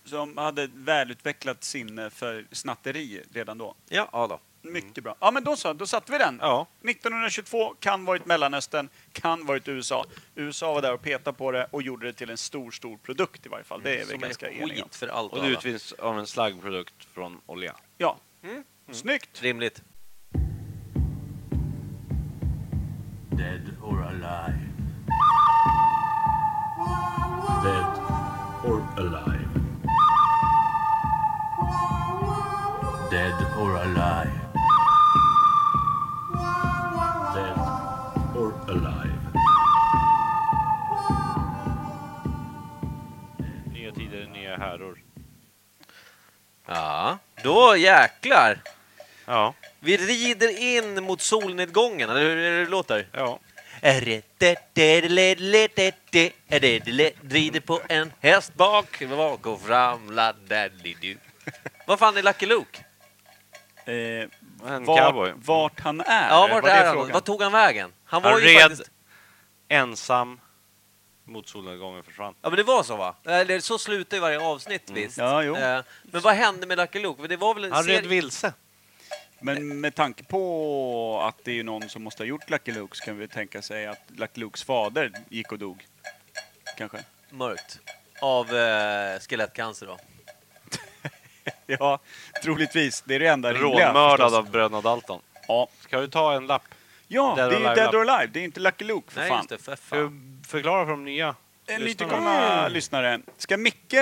Som hade ett välutvecklat sinne för snatteri redan då.
Ja, ja då.
Mycket bra. Ja, men då så, då satte vi den.
ja,
1922 kan varit Mellanöstern, kan varit USA. USA var där och petade på det och gjorde det till en stor, stor produkt i varje fall. Det är vi
Mm, Som
ganska
är
eniga om.
skit för allt
och
och
det
alla.
utvinns av en slaggprodukt från olja.
Ja.
Mm.
Snyggt!
Rimligt.
Dead or alive. Dead or alive. Dead or alive. Dead or alive.
Nya tider, nya häror.
Ja, då jäklar.
Ja,
Vi rider in mot solnedgången, eller hur är det det låter?
ja.
Rider på en häst bak, bak och fram, laddadidu. Vad fan är Lucky Luke?
Eh,
Mm. En
vart,
cowboy. Mm.
vart han är?
Ja, vart
var det
är han?
frågan?
Vart tog han vägen? Han var
Han
ju
red.
faktiskt...
Ensam mot solnedgången försvann.
Ja, men det var så va? Eller så slutar ju varje avsnitt visst.
Ja, jo.
Eh, Men vad hände med Lucky Luke? För Det var väl en
Han red
serie...
vilse.
Men med tanke på att det är någon som måste ha gjort Lucky Luke så kan vi tänka sig att Lucky Lukes fader gick och dog. Kanske.
Mörkt. Av eh, skelettcancer då.
Ja, troligtvis. Det är det enda rimliga.
Rånmördad
förstås.
av bröderna Dalton.
Ja,
Ska du ta en lapp?
ja
Dead or
det är ju
Alive,
Dead
va?
or Alive. Det är inte Lucky Luke för
Nej,
fan.
just det. För
Ska
fan.
du förklara för de nya
En
lyssnarna?
nytillkomna
Mm.
lyssnare. Ska Micke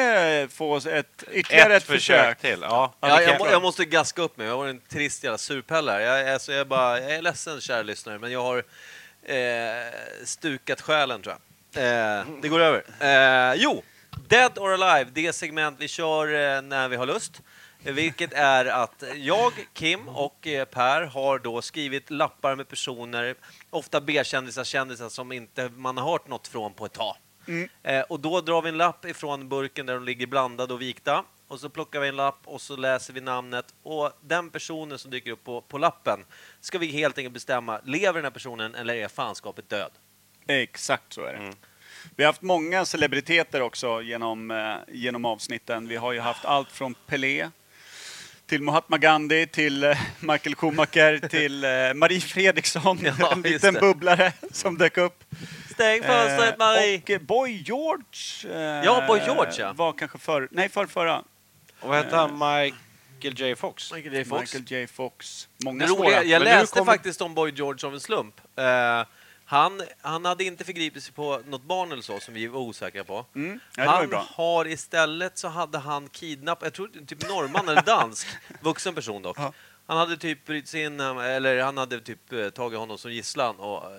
få oss ett, ytterligare ett, försök?
till. Ja,
Ja,
det
jag,
kan-
må, jag måste gaska upp mig. Jag var en trist jävla surpelle. här. Jag, är- alltså, jag, är bara, jag är ledsen, kära lyssnare, men jag har eh, stukat själen, tror jag. Eh, det går över. Eh, jo, Dead or Alive, det segment vi kör eh, när vi har lust. Eh, Vilket är att jag, Kim och eh, Per har då skrivit lappar med personer, ofta B-kändisar, kändisar som inte man har hört något från på ett tag. Eh, och då drar vi en lapp ifrån burken där de ligger blandade och vikta. Och så plockar vi en lapp och så läser vi namnet. Och den personen som dyker upp på, på lappen ska vi helt enkelt bestämma, lever den här personen eller är fanskapet död?
Eh, Exakt så är det.
Mm.
Vi har haft många celebriteter också genom, eh, genom avsnitten. Vi har ju haft allt från Pelé till Mahatma Gandhi, till eh, Michael Schumacher, till eh, Marie Fredriksson,
Ja, just
en liten
det.
bubblare som dök upp.
Stäng fönstret, Marie!
Eh, och eh, Boy George. eh,
Ja, Boy George, ja.
Var kanske för, nej, för förra.
Och vad hette han? Michael J Fox?
Michael J. Fox.
Michael J Fox. Många
Det
svåra.
roliga, jag
Men nu
läste
kommer-
faktiskt om Boy George av en slump. Eh, han, han hade inte förgripit sig på något barn eller så, som vi var osäkra på.
Mm. Ja, det var ju
han
bra.
har istället så hade han kidnappat, jag tror typ norrman eller dansk, vuxen person dock.
Ja.
Han hade typ brytt sig in, eh, eller han hade typ eh, tagit honom som gisslan och eh,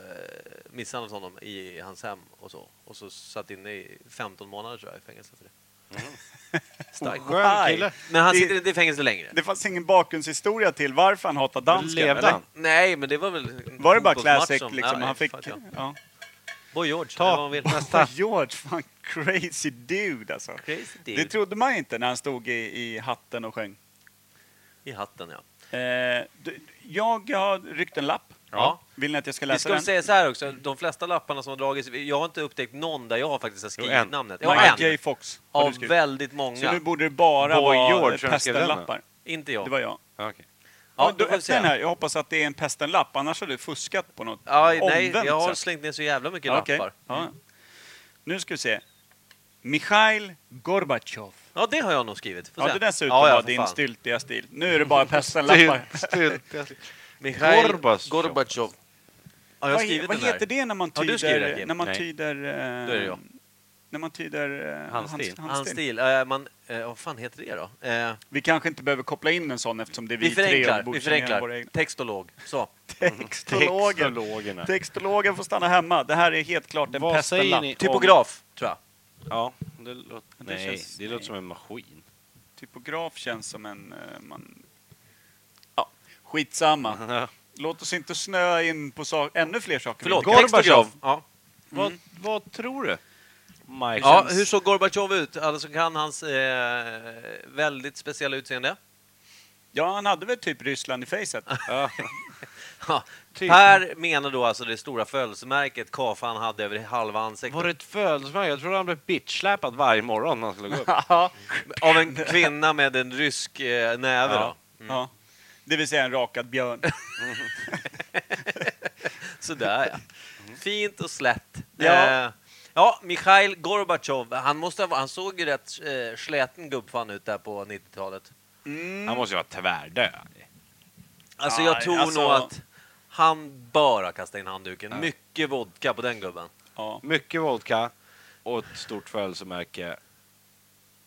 misshandlat honom i hans hem och så. Och så satt inne i 15 månader tror jag i fängelse för det. Starkt.
Skön kille.
Men han
Mm. Det-
sitter inte i fängelse längre.
Det fanns ingen bakgrundshistoria till varför han hatade dansken,
Levde
eller?
han?
Nej, men det var väl... en
Var det bara
fotbollsmatch
classic,
som-
liksom?
Ja,
han fick...
fan, ja.
Ja.
Boy George,
Ta.
eller vad man vill.
Nästa. George, fan crazy dude alltså.
Crazy
Det
dude
trodde man inte när han stod i, i hatten och sjöng.
i hatten, ja.
Eh, du, jag har ryckt en lapp.
Ja.
Vill ni att jag ska
Vi
läsa
ska
den?
säga så här också, de flesta lapparna som har dragits, jag har inte upptäckt någon där jag faktiskt har skrivit
Jo, en.
namnet. Ja,
Mike
en.
J Fox har du
Av
skrivit.
väldigt
Så nu
många.
borde det bara
Boy
vara
George, som skrev den,
pestenlappar.
Inte jag.
Det var jag.
Ja, okej.
Ja,
Ja, du,
då får vi
öppna den
se.
här. Jag hoppas att det är en pestenlapp, annars har du fuskat på något
Ja, nej,
omvänt
jag har
sätt.
slängt ner så jävla mycket
Ja, okej.
lappar. Mm.
Ja. Nu ska vi se. Mikhail Gorbatjov.
Ja, det har jag nog skrivit. Får
Ja,
se.
det dessutom
ja, ja,
var
för
din
fan.
styltiga stil. Nu är det bara pestenlappar.
Stilt- stilt-
Mikhail
Gorbachev.
Gorbachev. Ja, jag har
vad, he-
skrivit
vad
den här.
heter det när man
Har du
tyder...
skrivit det, Kim?
när man
Nej.
tyder... eh,
Då är det jag.
När man tyder... eh,
Handstil.
hands-
Hans stil. Eh, man, eh, vad fan heter det då? Eh,
Vi kanske inte behöver koppla in en sån eftersom det är vi,
vi
tre
förenklar.
och
Vi
våra
förenklar. Mm.
egna.
Textolog. Så.
Textologen.
Textologerna.
Textologen får stanna hemma. Det här är helt klart en
Vad säger
pestenlapp.
ni?
Typograf, tror jag.
Ja, det låter...
Det
Nej,
känns-
det låter som en maskin.
Typograf känns som en... eh, Man... Ja, skitsamma. Låt oss inte snöa in på so- ännu fler saker.
Förlåt,
Vi-
Gorbatjov.
Gorbatjov. Ja.
Vad, vad tror du? Mike?
Ja, hur såg Gorbatjov ut? Alla som kan hans eh, väldigt speciella utseende.
Ja, han hade väl typ Ryssland i facet.
Ja.
Ja.
Typ.
Per menar då alltså det stora födelsemärket Kafan hade över halva ansiktet.
Var det ett födelsemärke? Jag trodde han blev bitchsläpad varje morgon när han skulle gå upp.
Av en kvinna med en rysk eh, näve
Ja.
då.
Ja. Det vill säga en rakad björn.
Sådär ja.
Mm.
Fint och slätt.
Ja.
Eh, ja, Mikhail Gorbatjov. Han, måste ha, varit- han såg ju rätt eh, släten gubbfan ut där på 90-talet.
Han måste ju vara tvärdöd.
Alltså
Ja,
jag tror
alltså-
nog att han bara kastade in handduken. Mycket vodka på den gubben.
Ja.
Mycket vodka och ett stort födelsemärke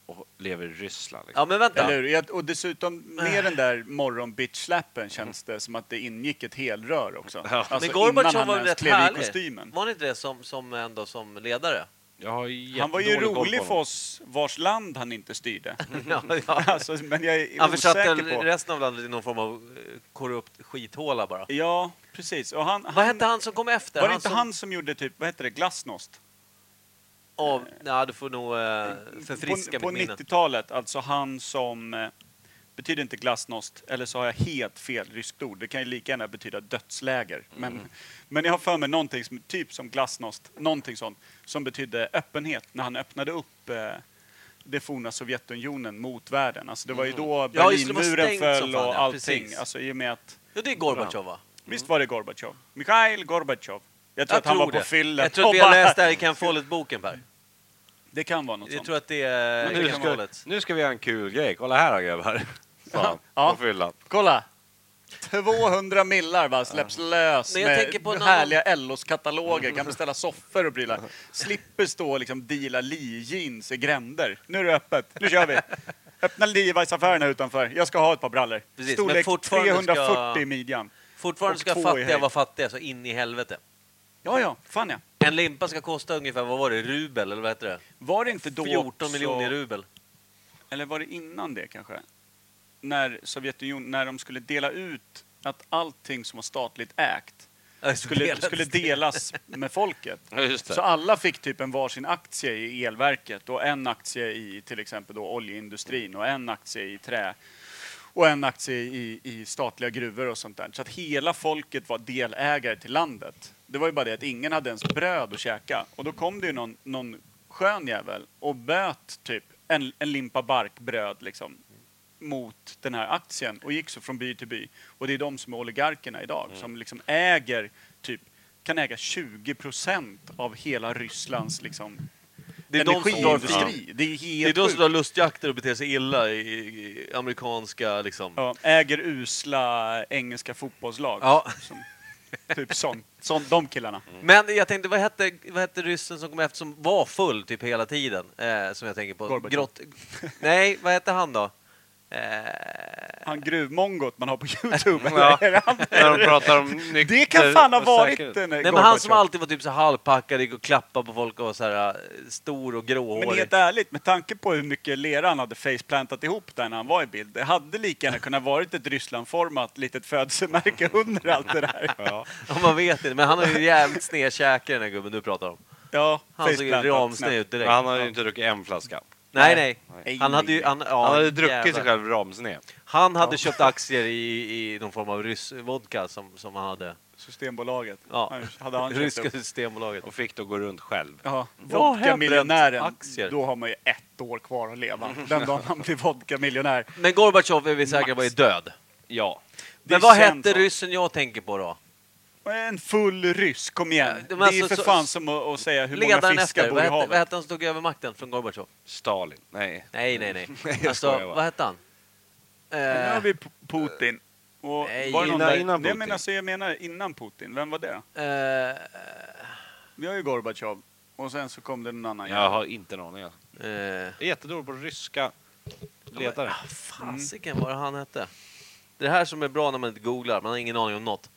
och lever i Ryssland. Liksom.
Ja men vänta.
Eller hur? Jag- Och dessutom, med den
Ah.
där morgon-bitch-slappen känns det som att det ingick ett helrör också. Alltså
men Gorbatjov
innan
var
han
väl
ens
rätt
klev i
härlig?
kostymen.
Var han inte det som, som, ändå som ledare?
Jag har
Han var ju
jättedålig koll på
rolig för
honom.
oss vars land han inte styrde.
ja, ja.
Alltså, men jag är
Han försatte
osäker på...
resten av landet i någon form av eh, korrupt skithåla bara.
Ja, precis. Och han,
Vad hette han som kom efter?
Var det inte
som...
han som gjorde typ, vad heter det, glasnost?
Av... Nej, du får nog eh, förfriska
på på
mitt minne.
90-talet, alltså han som... eh, Betyder inte glasnost, eller så har jag helt fel ryskt ord. Det kan ju lika gärna betyda dödsläger.
Mm.
Men, men jag har för mig någonting som, typ som glasnost, någonting sånt, som betydde öppenhet när han öppnade upp eh, det forna Sovjetunionen mot världen. Alltså det var ju då
Mm. Ja, just det, det var
Berlinmuren
stängt som
föll
fan,
och
ja,
allting.
precis. Mm.
alltså i och med att
Ja, det är Gorbatjov va?
Visst var det Gorbatjov? Mikhail Gorbatjov. Jag tror
Jag
att han
tror
var på
det.
fyllan.
Jag tror att
och
vi har
bara-
läst det här i Ken Follett-boken Per.
Det kan vara något
Jag
sånt.
tror att det är
Men
Nu
Ken
ska,
Follett.
nu ska vi göra en kul grej. Kolla här då grabbar. Fan,
Ja.
på fyllan.
Kolla! 200 millar va, släpps lös
Men jag
med
tänker på en
härliga LOs-kataloger, kan beställa soffor och prylar. Slipper stå och liksom deala Lee-jeans i gränder. Nu är det öppet, nu kör vi! Öppna Levi's-affärerna utanför. Jag ska ha ett par brallor.
Precis, men
Storlek
fortfarande
340
ska-
i midjan.
Fortfarande
och
ska
två i
fattiga
höjd.
vara fattiga så in i helvete.
Ja, ja, fan ja.
En limpa ska kosta ungefär, vad var det, rubel eller vad heter det?
Var det inte då
14
också-
miljoner rubel.
Eller var det innan det kanske? När Sovjetunionen, när de skulle dela ut att allting som var statligt ägt
Jag
skulle, skulle delas med folket.
Ja, just det.
Så alla fick typ en varsin aktie i elverket och en aktie i till exempel då oljeindustrin och en aktie i trä och en aktie i, i statliga gruvor och sånt där. Så att hela folket var delägare till landet. Det var ju bara det att ingen hade ens bröd att käka. Och då kom det ju någon, någon skön jävel och böt typ en, en limpa barkbröd liksom mot den här aktien och gick så från by till by. Och det är de som är oligarkerna idag som liksom äger typ kan äga 20 procent av hela Rysslands liksom,
Det är de som drar fram.
energiindustri. Det är
Det är
helt
de som
sjukt.
har lustjakter och beter sig illa i, i amerikanska liksom...
Ja, äger usla engelska fotbollslag.
Ja.
Som, typ sån, sån, de killarna.
Men jag tänkte, vad hette, vad hette ryssen som kom efter som var full typ hela tiden? Eh, som jag tänker på.
Gorbatjov.
Nej, vad hette han då? Eh,
Han gruvmongot man har på Youtube.
Ja.
Är det han?
När de pratar om
Det
nykter
kan fan ha
och
varit eh,
säkerhet.
den
nej, men han som alltid var typ så halvpackad, gick och klappade på folk och var så här eh, stor och
Men
gråhårig.
helt ärligt, med tanke på hur mycket lera han hade faceplantat ihop där när han var i bild. Det hade lika gärna kunnat varit ett Rysslandformat litet födelsemärke under allt det där. Ja,
Ja, man vet inte, men han har ju jävligt sned käke den här gubben du pratar om.
ja
Han såg ju
faceplantat,
ramsned
snett.
ut direkt.
Men han hade ju inte druckit en flaska.
nej, nej.
Nej.
Han hade ju... Han, ja,
han hade druckit
jävlar.
sig själv ramsned.
Han hade köpt aktier i, i någon form av ryss vodka som, som han hade.
Systembolaget.
Ja.
Han- Hade han köpt
Ryska
upp.
systembolaget.
Och fick då gå runt själv.
Ja,
Vad har
vodkamiljonären,
hänt? Aktier. Mm.
då har man ju ett år kvar att leva. Den dagen han blir vodkamiljonär.
Men Gorbatjov är vi säkra på är död.
Ja.
Det
Men vad
känns
hette
så.
ryssen jag tänker på då?
En full ryss, kom igen.
Ja, men
det är ju
alltså,
för
så-
fan som att, att säga hur
Ledaren
många fiskar
efter,
bor i
vad hette, vad
havet.
hette han som tog över makten från Gorbatjov?
Stalin. Nej.
Nej, nej, nej.
jag
alltså,
skojar bara.
vad hette han?
Nu har
Eh,
vi P- Putin. Och
Nej,
var det någon
innan-
där,
innan
Nej,
Putin.
men alltså, jag menar innan Putin. Vem var det? Vi har ju Gorbatjov. Och sen så kom det någon annan.
Jag har inte en aning. alltså.
Eh, eh,
Jag är jättedålig på ryska ledare.
Ah,
Mm.
Fasiken vad han hette. Det är det här som är bra när man inte googlar, man har ingen aning om något.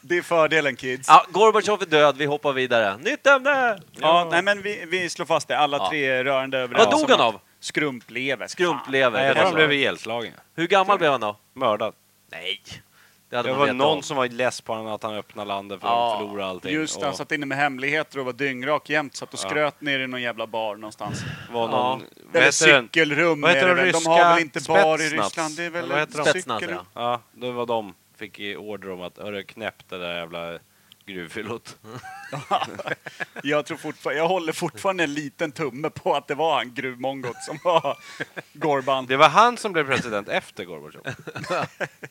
Det är fördelen kids. Ja,
Ja, Gorbatjov är död, vi hoppar vidare. Nytt ämne!
nej men vi, vi slår fast det. Alla
Ja.
tre är rörande överens.
Vad dog han av?
Skrumplever.
Nej,
Skrumplever.
jag tror
det
han blev
var så.
ihjälslagen.
Hur gammal blev han då?
Mördad.
Nej. Det hade
Det
man
var
vetat
någon
om.
som var less på honom att han öppnade landet för
Ja,
att förlora allting.
Just det, alltså. han
och
satt inne med hemligheter och var dyngrak jämt. Satt och
Ja.
skröt ner i någon jävla bar någonstans.
var någon... Vad
Eller
heter den?
cykelrum
Vad
är
heter
det
den
väl. De
ryska
har väl inte bar i
Spetsnaz?
Ryssland? Det är väl
Eller vad heter de?
cykel-
Spetsnaz, ja.
Ja, det var de. Fick i order om att hörru knäpp det där jävla gruvfyllot.
Mm.
Jag, tror fortfarande, jag håller fortfarande en liten tumme på att det var han, gruvmongot, som var Gorban.
Det var han som blev president efter Gorbatjov.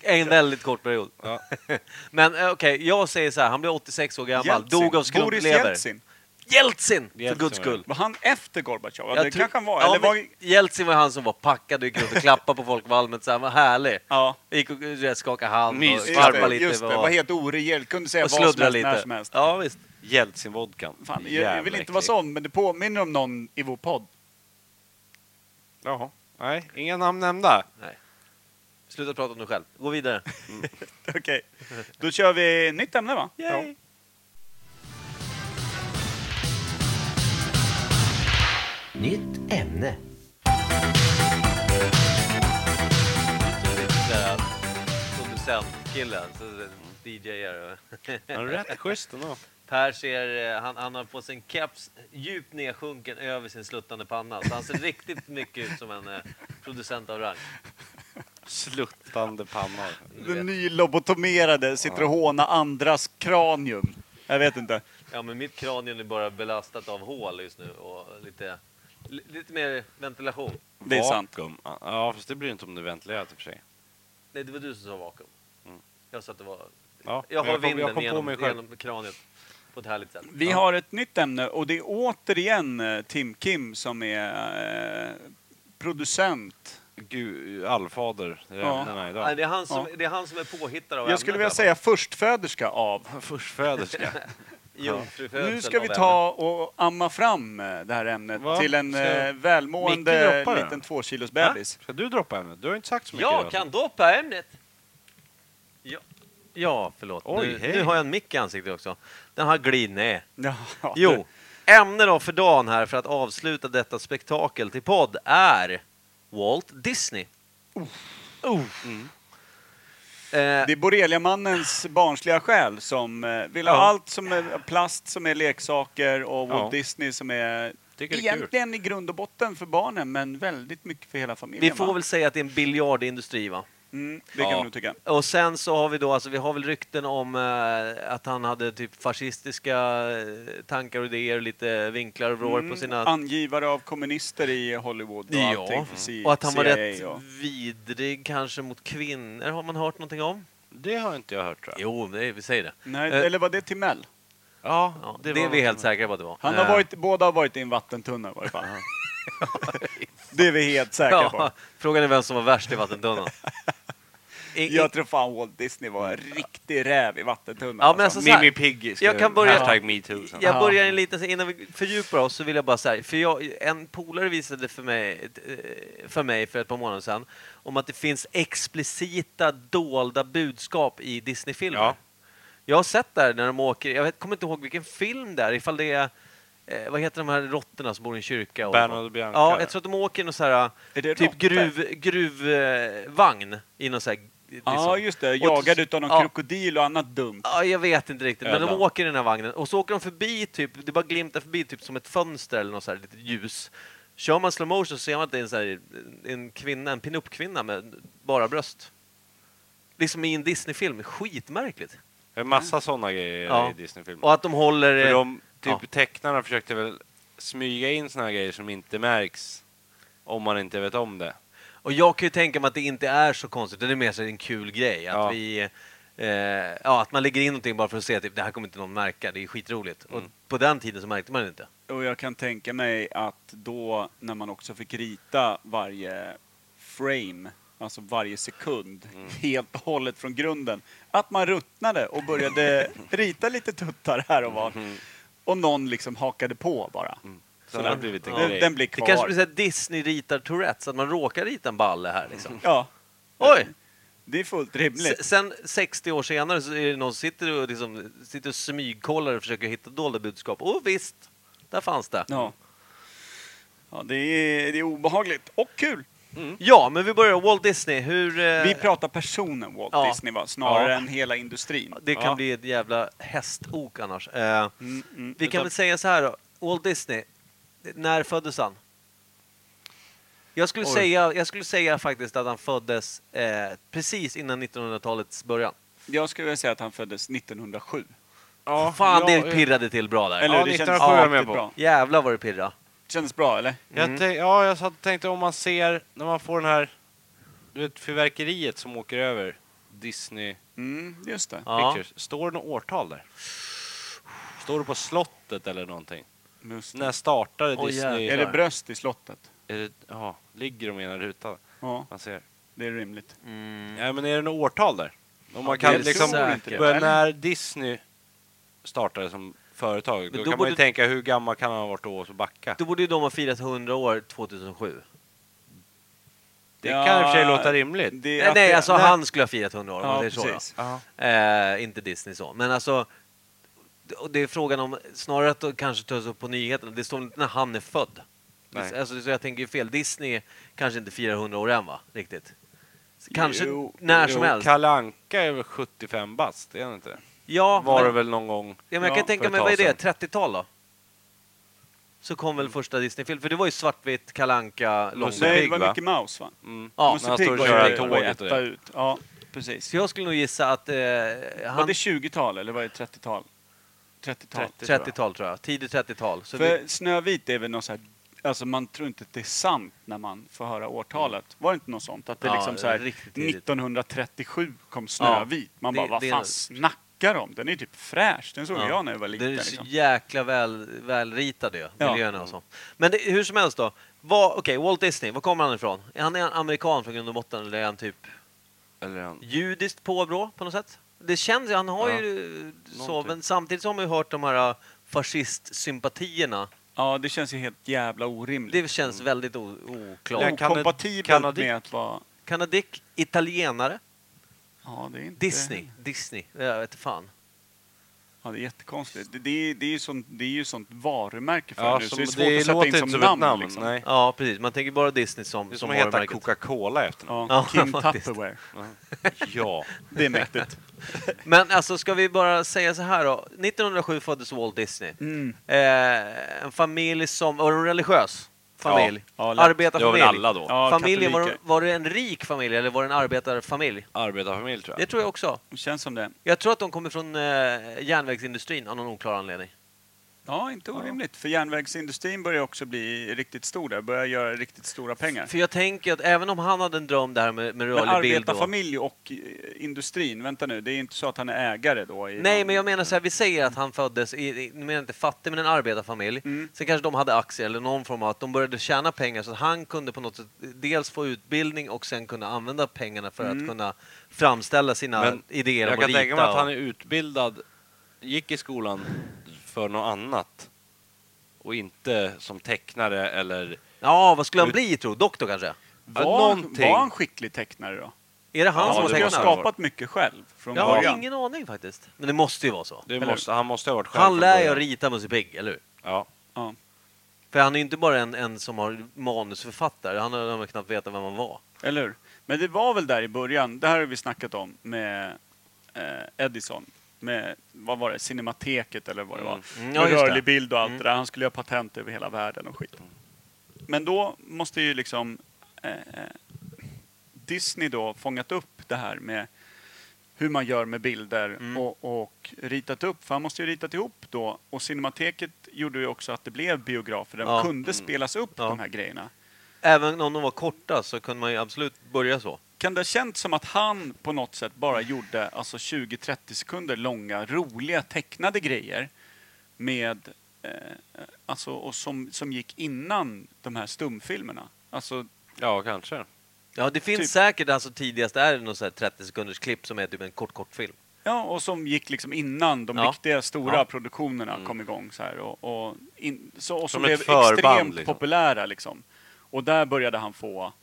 En väldigt kort period.
Ja.
Men eh, okej, jag säger så här, han blev 86 år gammal,
Jeltsin.
dog av
Boris
skrumplever.
Jeltsin.
Jeltsin! För
Jeltsin
guds
var
skull.
Var han efter Gorbatjov? Ja,
Jag
det
tror-
kanske han var.
Ja,
Eller
men
var...
Jeltsin var han som var packad och gick runt och klappade på folk på allmänt. Så här, vad härlig.
Ja.
Gick och du vet, skakade hand
Mys,
och
Just
skvarpade
det,
lite.
just det.
och-
Var helt oregerlig. Kunde säga
och
vad som
sluddra
helst, när
lite.
som helst.
Ja, visst.
Jeltsin-vodkan.
Fan, jag,
Jävla
jag vill inte
äcklig.
vara sån, men det påminner om någon i vår podd.
Jaha. Nej, inga namn nämnda.
Sluta prata om dig själv. Gå vidare.
Okej, då kör vi nytt ämne va?
Yay.
Nytt ämne.
Producentkillen, DJ-are.
Han är rätt schysst ändå.
Per ser, eh, han, han har på sig en keps djupt nedsjunken över sin sluttande panna. Så han ser riktigt mycket ut som en eh, producent av rang.
Sluttande pannor.
Du
Den
vet.
nylobotomerade sitter och hånar andras kranium. Jag vet inte.
Ja, men mitt kranium är bara belastat av hål just nu och lite, li- lite mer ventilation.
Det är sant.
Vakuum. Ja, fast det blir inte om du ventilerar i och för sig.
Nej, det var du som sa vakuum. Jag sa att det var...
Ja,
Jag
men
har
kom-
vinden
jag kom på
genom,
mig själv.
genom kraniet på ett härligt sätt.
Vi har ett nytt ämne och det är återigen eh, Tim Kim som är eh, producent.
Gud, allfader. Det är
Ja.
ämnena
Nej,
idag.
det, är han som, det är han som är påhittare av
Jag skulle vilja
ämnet,
säga förstföderska av.
Förstföderska.
i alla fall. Jungfrufödsel
Nu ska vi
av
ta och amma fram eh, det här ämnet
Va?
till en
Ska-
eh,
Micke
välmående
droppar det?
liten tvåkilos
Va?
bebis.
Ska du droppa ämnet? Du har inte sagt så
ämnet.
mycket.
Jag
idag.
kan doppa ämnet! Ja, ja förlåt.
Oj,
nu,
hej.
nu har jag en mick i ansiktet också. Den har glidit ner.
Ja,
Jo, ämne då för dagen här för att avsluta detta spektakel till podd är Walt Disney. Oh. Eh,
Det är Borreliamannens barnsliga själ som eh, vill ha
Ja.
allt som är plast som är leksaker och Walt
Ja.
Disney som är
Tycker det är kul.
egentligen i grund och botten för barnen men väldigt mycket för hela familjen.
vi får
va?
väl säga att det är en biljardindustri va?
mm, det kan
Ja.
vi nog tycka.
Och sen så har vi då, alltså vi har väl rykten om eh, att han hade typ fascistiska eh, tankar och idéer och lite vinklar och vrår
Mm,
på sina...
Angivare av kommunister i Hollywood och allting. för C-
Mm. och att han var
CIA
rätt
och-
vidrig kanske mot kvinnor har man hört någonting om?
Det har inte jag hört tror jag.
Jo, det, vi säger det.
Nej,
Eh,
eller var det Timell?
Ja,
Ja, det
det
är
var
vi helt
något-
säkra på att det var.
Han har
Eh,
varit, båda har varit i en vattentunna i varje fall. det är vi helt säkra på.
Ja, frågan är vem som var värst i vattentunnan. I- i-
Jag tror fan Walt Disney var en riktig räv i vattentunnan.
Ja, men alltså så här-
Mimi Piggy skrev
Jag kan börja-
hashtag metoo sen.
jag börjar en liten, innan vi fördjupar oss så vill jag bara säga, för jag, en polare visade för mig, eh, för mig för ett par månader sedan om att det finns explicita dolda budskap i Disney-filmer.
Ja.
Jag har sett där när de åker, jag vet, kommer inte ihåg vilken film det är, ifall det är eh, vad heter de här råttorna som bor i en kyrka? och-
Bernard och Bianca.
Ja, jag tror att de åker i någon så här
Är det
typ
råttor?
gruvvagn gruv, eh, vagn i någon så här... liksom-
Ja, just det.
Och-
Jagad utav någon
ja.
krokodil och annat dumt.
Ja, jag vet inte riktigt, men de
Öland.
åker i den här vagnen och så åker de förbi, typ, det bara glimtar förbi typ som ett fönster eller något så här litet ljus. Kör man slow motion så ser man att det är en, så här, en kvinna, en pinup-kvinna med bara bröst. Liksom i en Disney-film, skitmärkligt.
Det är massa sådana grejer
Ja.
i Disney-filmer.
Och att de håller... eh,
För de, typ
ja.
tecknarna försökte väl smyga in såna här grejer som inte märks om man inte vet om det.
Och jag kan ju tänka mig att det inte är så konstigt, det är mer så här en kul grej. Att,
Ja.
vi, eh, ja, att man lägger in någonting bara för att se att typ, det här kommer inte någon märka, det är skitroligt.
Mm.
Och på den tiden så märkte man det inte.
Och jag kan tänka mig att då, när man också fick rita varje frame, alltså varje sekund, helt och hållet från grunden. Att man ruttnade och började rita lite tuttar här och var. Och någon liksom hakade på bara.
Så det har blivit en
den,
grej.
den blir
Det
kvar.
kanske blir så här Disney ritar Tourettes, att man råkar rita en balle här liksom.
Ja,
Oj!
det är fullt Mm. rimligt.
Se- Sen 60 år senare så är det någon som sitter och, liksom, sitter och smygkollar och försöker hitta dolda budskap. Och visst, där fanns det.
Ja. Ja, det är, det är obehagligt och kul.
Ja, men vi börjar. Walt Disney, hur... eh,
Vi pratar personen Walt
Ja.
Disney va? snarare
Ja.
än hela industrin.
det kan
Ja.
bli ett jävla hästok annars. Eh,
Mm, mm.
vi kan väl säga så här då. Walt Disney, när föddes han? Jag skulle,
Oj.
säga, jag skulle säga faktiskt att han föddes eh, precis innan 1900-talets början.
Jag skulle vilja säga att han föddes 1907.
Ja,
Fan,
ja,
det pirrade till bra där.
eh, Eller
Ja,
det
1907
kändes
är jag med
alltid
på.
bra.
Jävlar vad det pirra.
Kändes bra eller?
Jag tänk, ja, jag satt- tänkte om man ser, när man får den här, du vet fyrverkeriet som åker över Disney
Mm, just det.
Ja.
Pictures. Står det något årtal där? Står det på slottet eller någonting?
Just det.
När startade
Oj,
Disney?
Är det bröst i slottet?
Är det, ja, ligger de i en ruta?
Ja,
Man ser.
det är rimligt. Mm.
Nej, men är det något årtal där? Om man
det
kan
är
liksom,
säkert.
börja
Eller?
när Disney startade som företag, då,
då
kan man ju
borde-
tänka hur gammal kan han ha varit då och så backa.
Då borde ju de ha firat 100 år 2007.
Det
Ja,
kan i och för sig låta rimligt.
Det,
Nej,
att
nej
det-
alltså
nej.
han skulle ha firat 100 år om
Ja,
man säger
precis.
så. då. Eh, inte Disney så. Men alltså, det- och det är frågan om, snarare att det kanske tas upp på nyheterna. Det står inte när han är född.
Nej.
Alltså, så jag tänker ju fel. Disney kanske inte firar 100 år än va? Riktigt. Kanske
Jo,
när
Jo,
som helst.
Kalle Anka är väl 75 bast, är han inte?
Ja,
Var det
men,
väl någon gång?
ja, men jag
ja,
kan tänka
för
mig,
ett
vad är
tag
det? 30-tal då? Så kom
Mm.
väl första Disney-filmen. För det var ju svartvitt, kalanka, lång.
Musse
Nej, det
Pigg,
var
va?
Mickey Mouse va?
Mm.
Ja,
när han
Musse
står
Pigg
och
var
kör
ju var ju
tåget och
etta
det.
ut. Ja, precis.
Så jag skulle nog gissa att eh,
Var
han...
det 20-tal eller var det 30-tal? 30-tal.
30-tal tror jag. Tidigt 30-tal. Så
För
vi,
Snövit är väl något så här, alltså man tror inte att det är sant när man får höra årtalet. Var det inte något sånt? Att det
Mm. Ja,
liksom så här,
riktigt tidigt.
1937 kom Snövit. Man
det-
bara, vad
det är
fan
något-
snackar de? Den är typ fräsch. Den såg
Ja.
jag när jag var
det är
liten.
ju så
Liksom.
jäkla väl, välritade ju,
Ja.
miljöerna och så. Men det, hur som helst då. Var, okej, Walt Disney, var kommer han ifrån? Är han en amerikan från grund och botten eller är han typ
Eller han-
judiskt påbrå på något sätt? Det känns ju, han har
Ja.
ju så,
Någonting.
men samtidigt så har man ju hört de här äh, fascistsympatierna.
Ja, det känns ju helt jävla orimligt.
Det känns väldigt o-
Ja,
oklart.
kan- kanad-
Okompatibelt
kanadik.
med att vara...
Kanadick, italienare,
Ja, det är inte...
Disney, Disney, jag vet fan.
Ja, det är jättekonstigt. Det, det, är- det, är, ju sånt, det är ju sånt varumärke för
Ja,
nu, så
som-
det är svårt
det
att sätta
låter
in
inte
som
som ett
namn.
namn,
liksom.
nej.
Ja, precis. Man tänker bara Disney som,
Det är
som
som att heta
varumärket.
Coca-Cola efter någon.
Ja,
Ja,
Kim
faktiskt.
Tupperware.
Ja.
Det är mäktigt.
Men alltså, ska vi bara säga så här då. 1907 föddes Walt Disney.
Mm.
Eh, en familj som var en religiös familj.
Ja, lätt.
Det var
arbetarfamilj.
väl alla då?
Ja,
Familjen, var, de-
katoliker.
var det en rik familj eller var det en arbetarfamilj?
Arbetarfamilj tror
Det
jag.
tror jag också.
Det känns som det.
Jag tror att de kommer från eh, järnvägsindustrin av någon oklar anledning.
Ja, inte orimligt. För järnvägsindustrin börjar också bli riktigt stor där. Börjar göra riktigt stora pengar.
För jag tänker att även om han hade en dröm där med, med
Men
rörlig bild då.
arbetarfamilj och eh, industrin, vänta nu, det är inte så att han är ägare då? I
Nej,
någon-
men jag menar så här, vi säger att han föddes i, i- nu menar jag inte fattig, men en arbetarfamilj. Sen kanske de hade aktier eller någon form av att de började tjäna pengar så att han kunde på något sätt dels få utbildning och sen kunna använda pengarna för att kunna framställa sina
Men
idéer om
Jag
att
kan
rita.
tänka mig att
och-
han är utbildad, gick i skolan för något annat. Och inte som tecknare eller...
Ja, vad skulle han bli tror Doktor kanske?
var,
någonting.
var han skicklig tecknare då?
Är det han
Han
som
som
har
måste ha
tecknat.
tecknat?
skapat mycket själv från
Jag har
början.
ingen aning faktiskt. Men det måste ju vara så.
Det måste, han måste ha varit själv
Han
från
lär ju
början.
att rita Musse Pigg, eller hur?
Ja.
Ja.
För han är ju inte bara en, en som har manusförfattare, han har han har knappt vetat vem han var.
Eller hur? Men det var väl där i början, det här har vi snackat om med eh, Edison. Med, vad var det, Cinemateket eller vad det var.
Mm,
Med
ja, just det. Mm.
rörlig bild och allt det där. Han skulle ha patent över hela världen och skit. Men då måste ju liksom eh, Disney då fångat upp det här med hur man gör med bilder
Mm.
och, och ritat upp. För han måste ju ritat ihop då. Och Cinemateket gjorde ju också att det blev biografer där
Ja. Mm.
de kunde spelas upp
Ja.
de här grejerna.
Även om de var korta så kunde man ju absolut börja så.
Kan det ha känts som att han på något sätt bara gjorde alltså 20-30 sekunder långa, roliga, tecknade grejer med, eh, alltså, och som, som gick innan de här stumfilmerna? Alltså,
ja, kanske.
Ja, det finns
Typ.
säkert alltså tidigast är det någon så här 30 sekunders klipp som är typ en kort kortfilm.
Ja, och som gick liksom innan de
Ja.
riktiga stora
Ja.
produktionerna kom igång. Så här, och, och, in, så, och som
Mm. Som
blev
ett förband,
extremt
liksom.
populära. Liksom. Och där började han få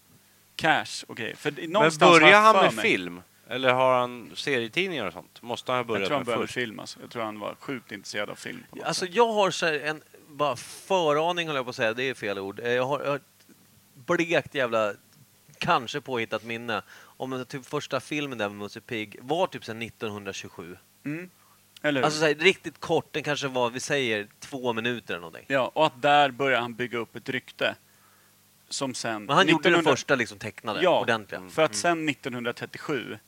cash. Okay. För det-
Men
någonstans har
börjar
jag
han
för
med
mig-
film? Eller har han serietidningar och sånt? Måste han ha
Jag
börjat
tror han
med
började med
först?
film. Alltså. Jag tror han var sjukt intresserad av film. På något
Alltså
sätt.
jag har så här en bara föraning håller jag på att säga, det är fel ord. Eh, Jag har, jag har ett blekt jävla, kanske påhittat minne om den typ första filmen där med Musse Pigg var typ sen 1927.
Mm. Eller hur?
Alltså så här, riktigt kort, den kanske var, vi säger två minuter eller någonting.
Ja, och att där började han bygga upp ett rykte. Som sen...
Men han gjorde den
1900
första liksom tecknade,
Ja,
ordentliga.
Mm.
Mm.
för att sen 1937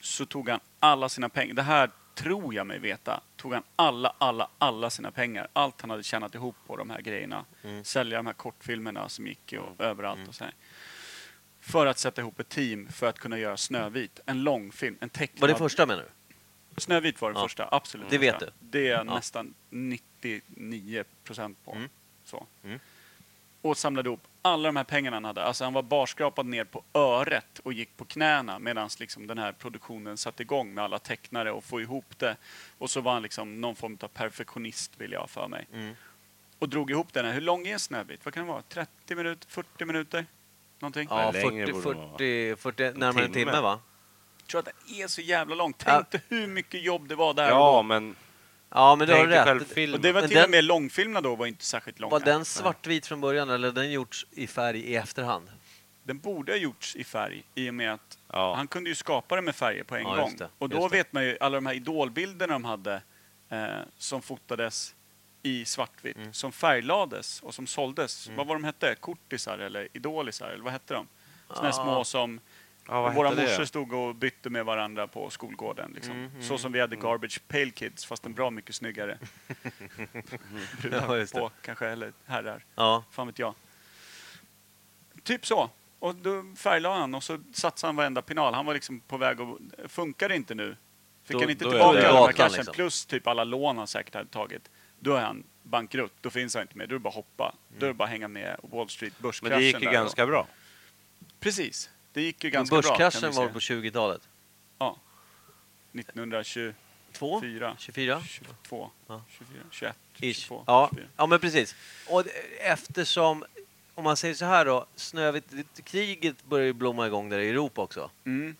så tog han alla sina pengar. Det här tror jag mig veta. Tog han alla, alla, alla sina pengar. Allt han hade tjänat ihop på de här grejerna.
Mm.
Sälja de här kortfilmerna som gick och överallt och så här. För att sätta ihop ett team för att kunna göra Snövit. En långfilm, en tecknad.
Var det första menar du?
Snövit var den
Ja.
första, absolut.
Det vet
första.
du.
Det är jag
Ja.
nästan 99 procent på. Så.
Mm.
Och samlade ihop alla de här pengarna han hade. Alltså han var barskrapad ner på öret och gick på knäna medan liksom den här produktionen satte igång med alla tecknare och få ihop det. Och så var han liksom någon form av perfektionist vill jag ha för mig.
Mm.
Och drog ihop den här. Hur lång är Snövit? Vad kan det vara? 30 minuter? 40 minuter? Någonting?
Ja,
Nej, längre
40,
borde det vara, va?
40, 40, närmare en
timme.
timme va?
Jag tror att det är så jävla långt.
Ja.
Tänk dig hur mycket jobb det var där och då.
Ja, men
Ja, men du har
tänk dig
rätt.
själv
Det-
Och
filmen.
det var
Men
till och
den-
med långfilmerna då var inte särskilt långa.
Var den svartvit från början eller den gjorts i färg i efterhand?
Den borde ha gjorts i färg i och med att
Ja.
han kunde ju skapa det med färger på en
Ja,
gång.
just det,
och då
just det.
vet man ju alla de här idolbilderna de hade eh, som fotades i svartvitt,
Mm.
som färglades och som såldes. Vad var de hette? Kortisar eller idolisar eller vad hette de? Såna här
Ah.
små som
Ja, vad
våra
hette det?
morsor stod och bytte med varandra på skolgården. Liksom.
Mm,
så som vi hade Garbage Pail Kids fast en bra mycket snyggare.
Ja,
Brudar
just det.
på kanske, eller herrar.
Ja.
Fan vet jag. Typ så. Och då färglade han och så satsade han varenda penal. Han var liksom på väg att... Funkar det inte nu? Fick
Då-
han inte
då är
tillbaka
det-
den här
Gatan,
cashen
liksom.
plus typ alla lån han säkert hade tagit. Då är han bankrutt. Då finns han inte mer. Då är det bara att hoppa. Då är det bara att hänga med Wall Street, börskraschen
Men det gick ju
där
ganska bra.
Och, precis. Det gick ju
Men
ganska bra. kan
Börskraschen
vi
var
säga.
på 20-talet?
Ja. 1924,
Två? 24?
22,
Ja.
24, 21,
Ish.
22,
Ja.
24.
ja, men precis. Och d- eftersom, om man säger så här då, Snövit, det- kriget börjar ju blomma igång där i Europa också.
Mm.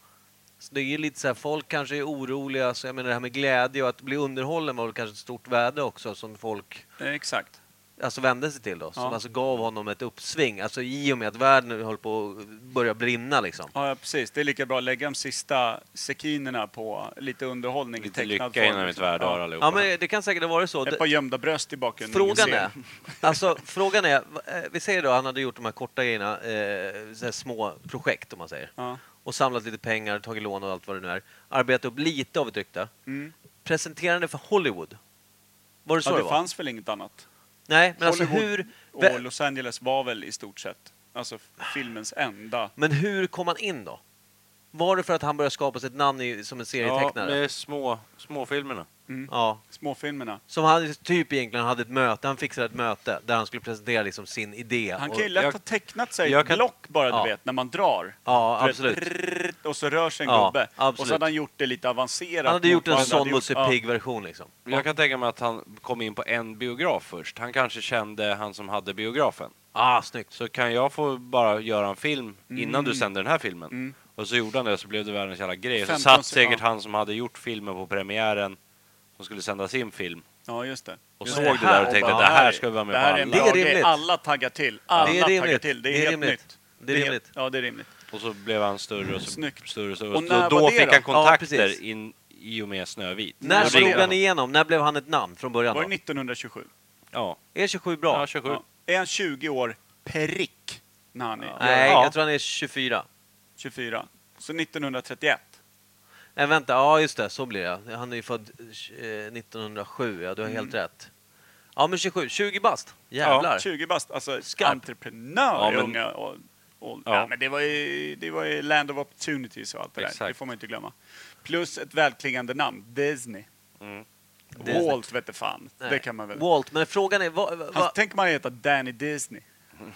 Så det är ju lite så här, folk kanske är oroliga, så jag menar det här med glädje och att bli underhållen var väl kanske ett stort värde också som folk
Eh, Exakt.
alltså vände sig till då, som
Ja.
alltså gav honom ett uppsving, alltså i och med att världen höll på att börja brinna liksom.
Ja, ja, precis. Det är lika bra att lägga de sista sekinerna på lite underhållning i
Lite
tecknad
lycka innan
form,
vi
liksom.
tvärdör
ja.
allihopa.
Ja, men det kan säkert ha varit så.
Ett par gömda bröst i bakgrunden.
Frågan
ingen
är, alltså, frågan är, va- eh, vi säger då han hade gjort de här korta grejerna, eh, så här små projekt om man säger,
ser. Ja.
och samlat lite pengar, tagit lån och allt vad det nu är, arbetat upp lite av ett rykte,
Mm.
presenterande för Hollywood. Var det så
Ja,
det,
det
var?
fanns väl inget annat?
Nej, men alltså
Hollywood
hur...
Och Los Angeles var väl i stort sett alltså filmens enda...
Men hur kom han in då? Var det för att han började skapa sig ett namn i, som en
Ja,
serietecknare?
med små, småfilmerna.
Mm.
Ja,
Småfilmerna.
som han typ egentligen hade ett möte, han fixade ett möte där han skulle presentera liksom sin idé.
Han
och-
kan ju lätt
jag-
ha tecknat sig
jag
ett
kan-
block bara, du
Ja.
vet, när man drar.
Ja,
Du vet,
absolut.
trrrr, Och så rör sig en
Ja,
gubbe. Och
absolut.
så hade han gjort det lite avancerat.
Han hade
mot
gjort
vad
en sån
hade gjort.
Musse
Ja.
Pigg-version liksom.
Jag kan tänka mig att han kom in på en biograf först. Han kanske kände han som hade biografen.
Ah, snyggt.
Så kan jag få bara göra en film innan du sänder den här filmen?
Mm.
Och så gjorde han det och så blev det världens jävla grej. Och Så
15
satt
se-
säkert
ja.
han som hade gjort filmen på premiären som skulle sända sin film
Ja, just det.
och
Just
såg
det.
det där och
Här-
tänkte
Ja,
det här
är-
ska vi vara med
det här är en
på
Det
bra
alla.
är
grej.
rimligt.
Alla taggar till. Alla
Det är
taggar
rimligt.
till. Det är,
Det är
helt
rimligt.
nytt.
Det är
helt-
rimligt.
Ja, det är rimligt.
Och så blev han större och så
Snyggt.
större och, så,
Och
och
när
då,
var
då
det
fick
då?
han kontakter
precis.
in, i och med Snövit.
När
Då
var
slog
ringde
det
han
då?
igenom? När blev han ett namn från början?
Var
Då?
det 1927?
Ja,
Är 27 bra?
ja 27.
Ja. Är han 20 år prick när han är
Nej,
Ja.
jag tror han är 24.
24? Så 1931?
Nej, vänta. Ja, just det. Så blir det. Han är ju född eh, 1907. Ja, du har
Mm.
helt rätt. Ja, men 27. 20 bast. Jävlar.
20 bast, alltså
Skarp.
entreprenör
Ja,
i
men-
unga och, och, ja.
Ja.
men det var, ju, det var ju land of opportunities och allt det där.
Exakt.
Det får man inte glömma. Plus ett välklingande namn, Disney.
Disney.
Mm.
Walt vette fan.
Nej.
Det kan man väl... Alltså,
Walt, men frågan är... Va, va,
Han, tänk man heta Danny Disney.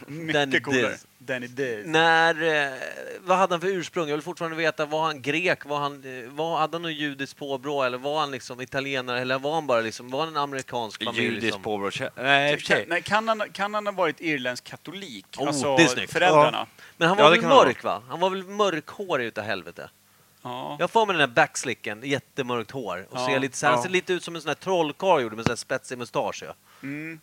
Mycket coolare.
Diz.
Danny Diz.
När, eh, vad hade han för ursprung? Jag vill fortfarande veta, var han grek? Var han, eh, var, hade han något judiskt påbrå? Eller var han liksom italienare? Eller var han bara liksom, var han en amerikansk familj?
Judiskt
liksom?
påbrå... Nej, i och för sig.
Kan, nej, kan, han, kan han ha varit irländsk katolik?
Oh,
alltså
det är snyggt.
föräldrarna?
Men han
Ja,
var
det
väl
kan han
mörk va? Han var väl mörkhårig utav helvete?
Ja.
Jag får med den här backslicken, jättemörkt hår. Och
Ja,
ser lite, så här, Han
ja.
ser lite ut som en sån här trollkarl gjorde med sån här spetsig mustasch. Ja.
Mm.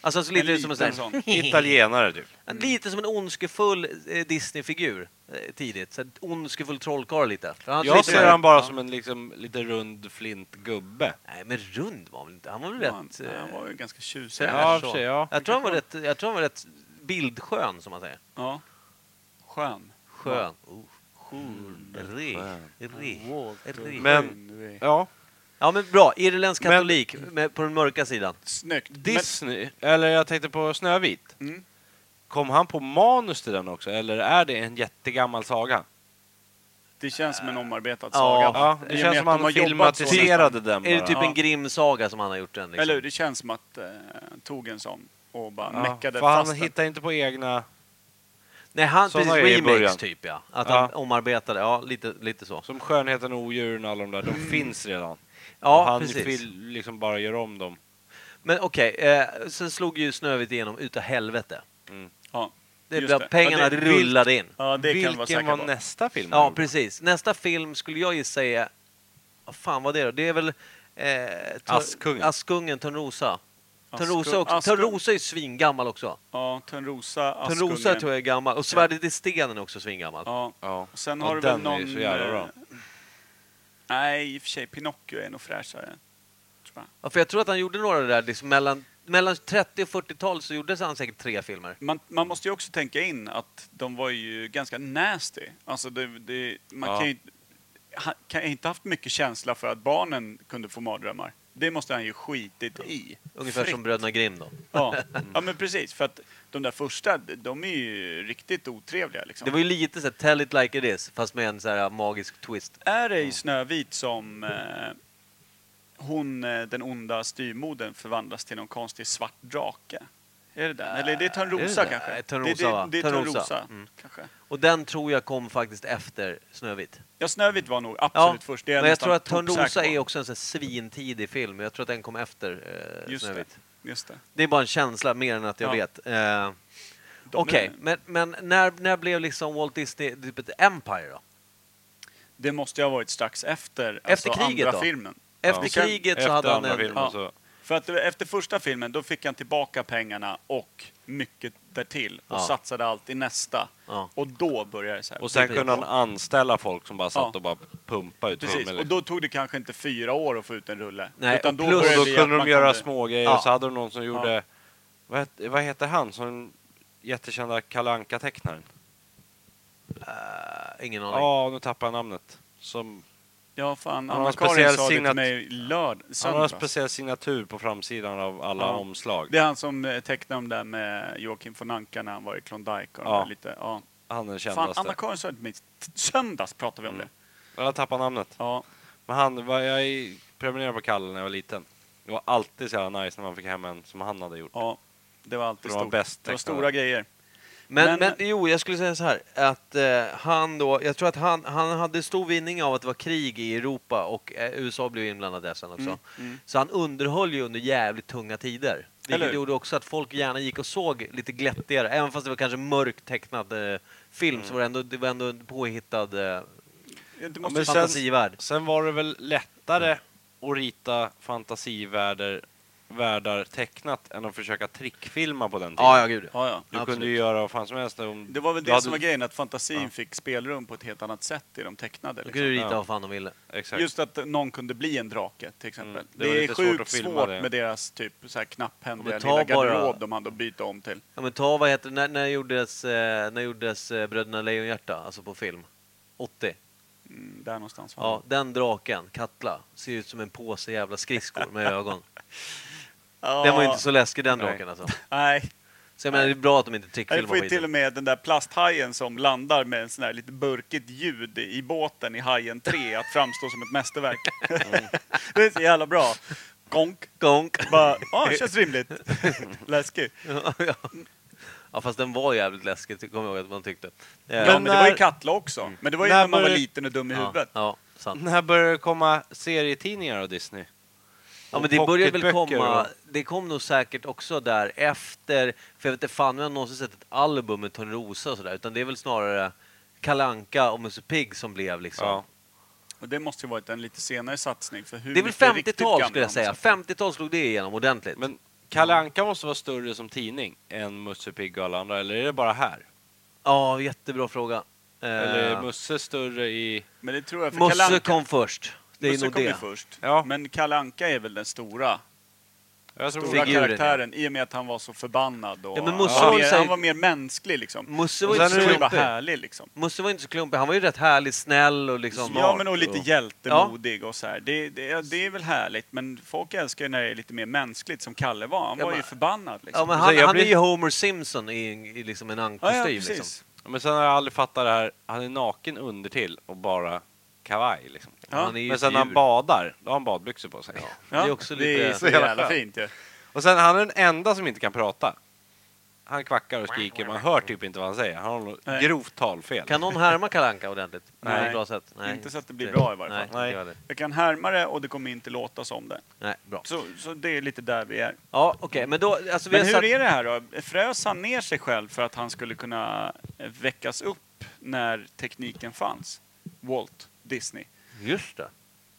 Alltså han ser
En
lite ut som en sån,
liten
här,
sån.
Italienare, typ.
Mm. Lite som en ondskefull eh, Disney-figur eh, tidigt. Så här, ondskefull trollkarl lite. För han
Jag
lite-
ser han bara som en liksom, lite rund flint gubbe.
Nej, men rund var han väl inte. Han var väl
Han,
rätt... eh,
han var ju ganska tjusig.
Ja, i och
så.
för sig, ja.
Jag tror han var rätt, jag tror han var rätt bildskön, som man säger.
Ja. Skön.
Skön. Oh. Rik. Rik. Rik.
Men, ja.
Ja, men bra. Irländsk
Men-
katolik med, på den mörka sidan.
Snyggt.
Disney, eller jag tänkte på Snövit.
Mm.
Kom han på manus till den också, eller är det en jättegammal saga?
Det känns som en omarbetad
Ja.
saga.
Ja,
I
det
och
känns
med
som
att
han liksom.
de har jobbat
filmatiserade den
Är det
bara.
typ en
Ja.
Grimm-saga som han har gjort den?
så-
Liksom?
Eller hur? Det känns som att eh, han tog en sån och bara
Ja,
meckade
För han
fast den.
hittar inte på egna...
Nej, han,
Såna
precis,
är det i
remix
början.
typ ja. Att
Ja.
han omarbetade, ja lite, lite så.
Som Skönheten och Odjuren och alla de där,
Mm.
de finns redan. och
Ja,
han
precis.
vill liksom bara göra om dem.
Men okej, eh, sen slog ju Snövit igenom utav helvete.
Ja.
Det är
Just
bara
det.
pengarna
Ja, det-
rullade in.
Ja, det kan
Vilken
vi vara säkra
var
på.
nästa film? han
Mm.
Ja,
gjorde?
precis. Nästa film skulle jag ju säga... Vad fan var det då? Det är väl... Eh, Tör-
Askungen.
Askungen, Törnrosa. Törnrosa,
Askung-
också.
Askung-
Törnrosa är ju svingammal också.
Ja, Törnrosa, Askungen.
Törnrosa tror jag är gammal. Och Svärdet i stenen är också svingammal.
Ja.
Ja.
Och sen
Ja,
har du väl
den är
någon...
ju så jävla
eh,
bra.
Nej, i och för sig. Pinocchio är nog fräschare.
Ja, för jag tror att han gjorde några där liksom mellan, mellan 30 och 40-tal så gjorde han säkert tre filmer.
Man, man måste ju också tänka in att de var ju ganska nasty. Alltså, det, det, man
Ja.
kan ju inte- han kan inte haft mycket känsla för att barnen kunde få mardrömmar. Det måste han ju skitit i.
Ungefär
Fritt.
som Bröderna Grimm då.
Ja. ja, men precis. För att de där första, de är ju riktigt otrevliga. Liksom.
Det var ju lite så här, Tell it like it is, fast med en så här magisk twist.
Är det i Snövit som eh, hon, eh, den onda styrmodern, förvandlas till någon konstig svart drake? Är det den? Eller är det Törnrosa
det?
kanske?
Nej, Törnrosa,
det, det,
va?
det är
Törnrosa.
Törnrosa,
Mm.
kanske.
Och den tror jag kom faktiskt efter Snövit.
Ja, Snövit var nog absolut först. Det är
men jag
nästan
tror att
toksäker
Törnrosa
på.
är också en sån här svintidig film. Jag tror att den kom efter eh,
Just det.
Snövit.
Just det.
Det är bara en känsla mer än att jag
Ja.
vet. Eh,
De
Okej,
är-
men, men när, när blev liksom Walt Disney typ ett Empire då?
Det måste ju ha varit strax efter,
Efter
alltså
kriget
andra
då?
filmen.
Efter
Det kan-
kriget så
Efter
hade han
andra
en...
filmen
ja.
så...
För att det- efter första filmen, då fick han tillbaka pengarna och mycket därtill och
Ja.
satsade allt i nästa.
Ja.
Och då började det så här.
Och sen
Precis.
kunde han anställa folk som bara satt
Ja.
och bara pumpade ut
Precis,
filmer.
och då tog det kanske inte fyra år att få ut en rulle.
Nej,
Utan
och
då
plus-
började
Och
det
då
att
kunde
man
de göra små grejer
Ja.
och så hade de någon som gjorde... Vad, hette, vad heter han som jättekända Kalle Anka-tecknaren?
Eh, ingen aning.
Ja, nu tappar jag namnet. Som,
Ja, fan.
har en
Anna-Karin
speciell
sa det till
signat-
mig lörd,
han har en
söndag.
speciell signatur på framsidan av alla
Ja.
omslag.
Det är han som eh, tecknade om där med Joakim von Anka när han var i Klondike. Och de
Ja.
där lite, ja.
Han är den
Fan,
kändaste.
Anna-Karin sa det till mig. t- Söndags pratade vi om det.
Jag tappar namnet.
Ja.
Men han, var jag i- prenumererade på Kalle när jag var liten. Det var alltid så jävla nice när man fick hem en som han hade gjort.
ja, det var alltid
För de var
stort.
bäst
det var
tecknade.
stora grejer.
Men, men,
Men-
jo, jag skulle säga så här att eh, han då, jag tror att han, han hade stor vinning av att det var krig i Europa och eh, USA blev inblandat där sen också. Så han underhöll ju under jävligt tunga tider.
Eller
Vilket
hur?
gjorde också att folk gärna gick och såg lite glättigare, även fast det var kanske mörkt tecknad eh, film så var det ändå, det var ändå en påhittad eh,
Det
Ja,
måste
men sen,
fantasivärld.
sen var det väl lättare att rita fantasivärldar världar tecknat än att försöka trickfilma på den tiden.
Ja, ja, gud ja.
ja, ja.
Du
Absolut.
kunde ju göra vad fan som helst. Om
Det var väl
du
det
hade-
som var grejen, att fantasin
Ja.
fick spelrum på ett helt annat sätt i de tecknade.
Då
Liksom.
kunde du rita
Ja.
vad fan de ville.
Exakt.
Just att någon kunde bli en drake till exempel.
Mm, det
det
var
är
lite svårt
sjukt
att
svårt,
filma det.
med deras typ så här knapphändiga
Men ta
lilla
bara-
garderob de hade att byta om till.
Ja men ta, vad heter det, när, när gjordes, eh, när gjordes eh, Bröderna Lejonhjärta, alltså på film? 80?
Mm, där någonstans. var
Ja, den draken, Katla, ser ut som en påse jävla skridskor med ögon.
ja.
Den var ju inte så läskig den
Nej.
draken alltså.
Nej.
Så jag menar, det är bra att de inte
Eller
trickfilmar
får ju till och
skiten.
med den där plasthajen som landar med en sån här lite burkigt ljud i båten i Hajen 3 att framstå som ett mästerverk. det är så jävla bra. Gonk.
Gonk.
Bara, ja, det känns rimligt. Läskigt.
Ja, ja. Ja, fast den var jävligt läskig, ty- kommer jag ihåg att man tyckte. Eh,
Ja, men, det var ju
när-
Katla också. Men det var ju
När
när, man var
började-
liten och dum i
ja,
huvudet.
ja, sant.
När börjar det komma serietidningar av Disney?
Ja, men
Och
det började väl
pocketböcker
komma,
och-
det kom nog säkert också där efter, för jag vet inte fan om jag någonsin sett ett album med Törnrosa och sådär, utan det är väl snarare Kalle Anka och Musse Pigg som blev liksom.
Ja.
Och det måste ju varit en lite senare satsning. För hur
Det är väl
mycket riktigt
50-tal
gamla
skulle jag
de
säga.
satt.
50-tal slog det igenom ordentligt.
Men Kalle Anka måste vara större som tidning än Musse Pigg och alla andra, eller är det bara här?
Ja, jättebra fråga.
Eller
Eh,
är Musse större i...
Men det tror jag, för Kalle
Musse
Anka-
kom först. Det är
Musse
nog
kom ju
det.
först.
Ja.
Men Kalle Anka är väl den stora,
Jag tror
stora
Figuren, ja.
karaktären i och med att han var så förbannad. Och
Ja, men Musse
han,
var
var
ju
mer,
så här-
han var mer mänsklig liksom.
Musse var
Och
ju inte
sen
så
är det ju bara
klumpig.
härlig liksom.
Musse var inte så klumpig. Han var ju rätt härlig, snäll och liksom smart.
Ja, men och lite hjältemodig och så här. Det, det, det är väl härligt, men folk älskar ju när det är lite mer mänskligt som Kalle var. Han
Ja,
var
men-
ju förbannad liksom.
Ja, men
Så
han,
jag
han
blir-
är ju Homer Simpson i, en- i liksom en
Ja,
annkostym.
ja,
liksom.
precis.
Men sen har jag aldrig fattat det här, han är naken under till och bara kavaj liksom.
Ja.
Han är ju
Men
ett
sen när han
djur.
badar, då har han badbyxor på sig.
Ja,
Det är också
Det är
lite-
så jävla fint ju.
Och sen, han är den enda som inte kan prata. Han kvackar och skriker, man hör typ inte vad han säger. Han har något
Nej.
grovt talfel.
Kan någon härma Kalle Anka ordentligt? På
Nej.
ett Bra sätt? Typ.
Inte så att det blir bra i varje fall.
Nej,
Nej.
inte jag heller.
Jag kan härma det och det kommer inte låtas om det.
Nej, bra.
Så, så det är lite där vi är.
Ja, okej, men då... Alltså, vi
Men
har
hur
satt-
är det här då? Frös han ner sig själv för att han skulle kunna eh, väckas upp när tekniken fanns? Walt Disney.
Just det.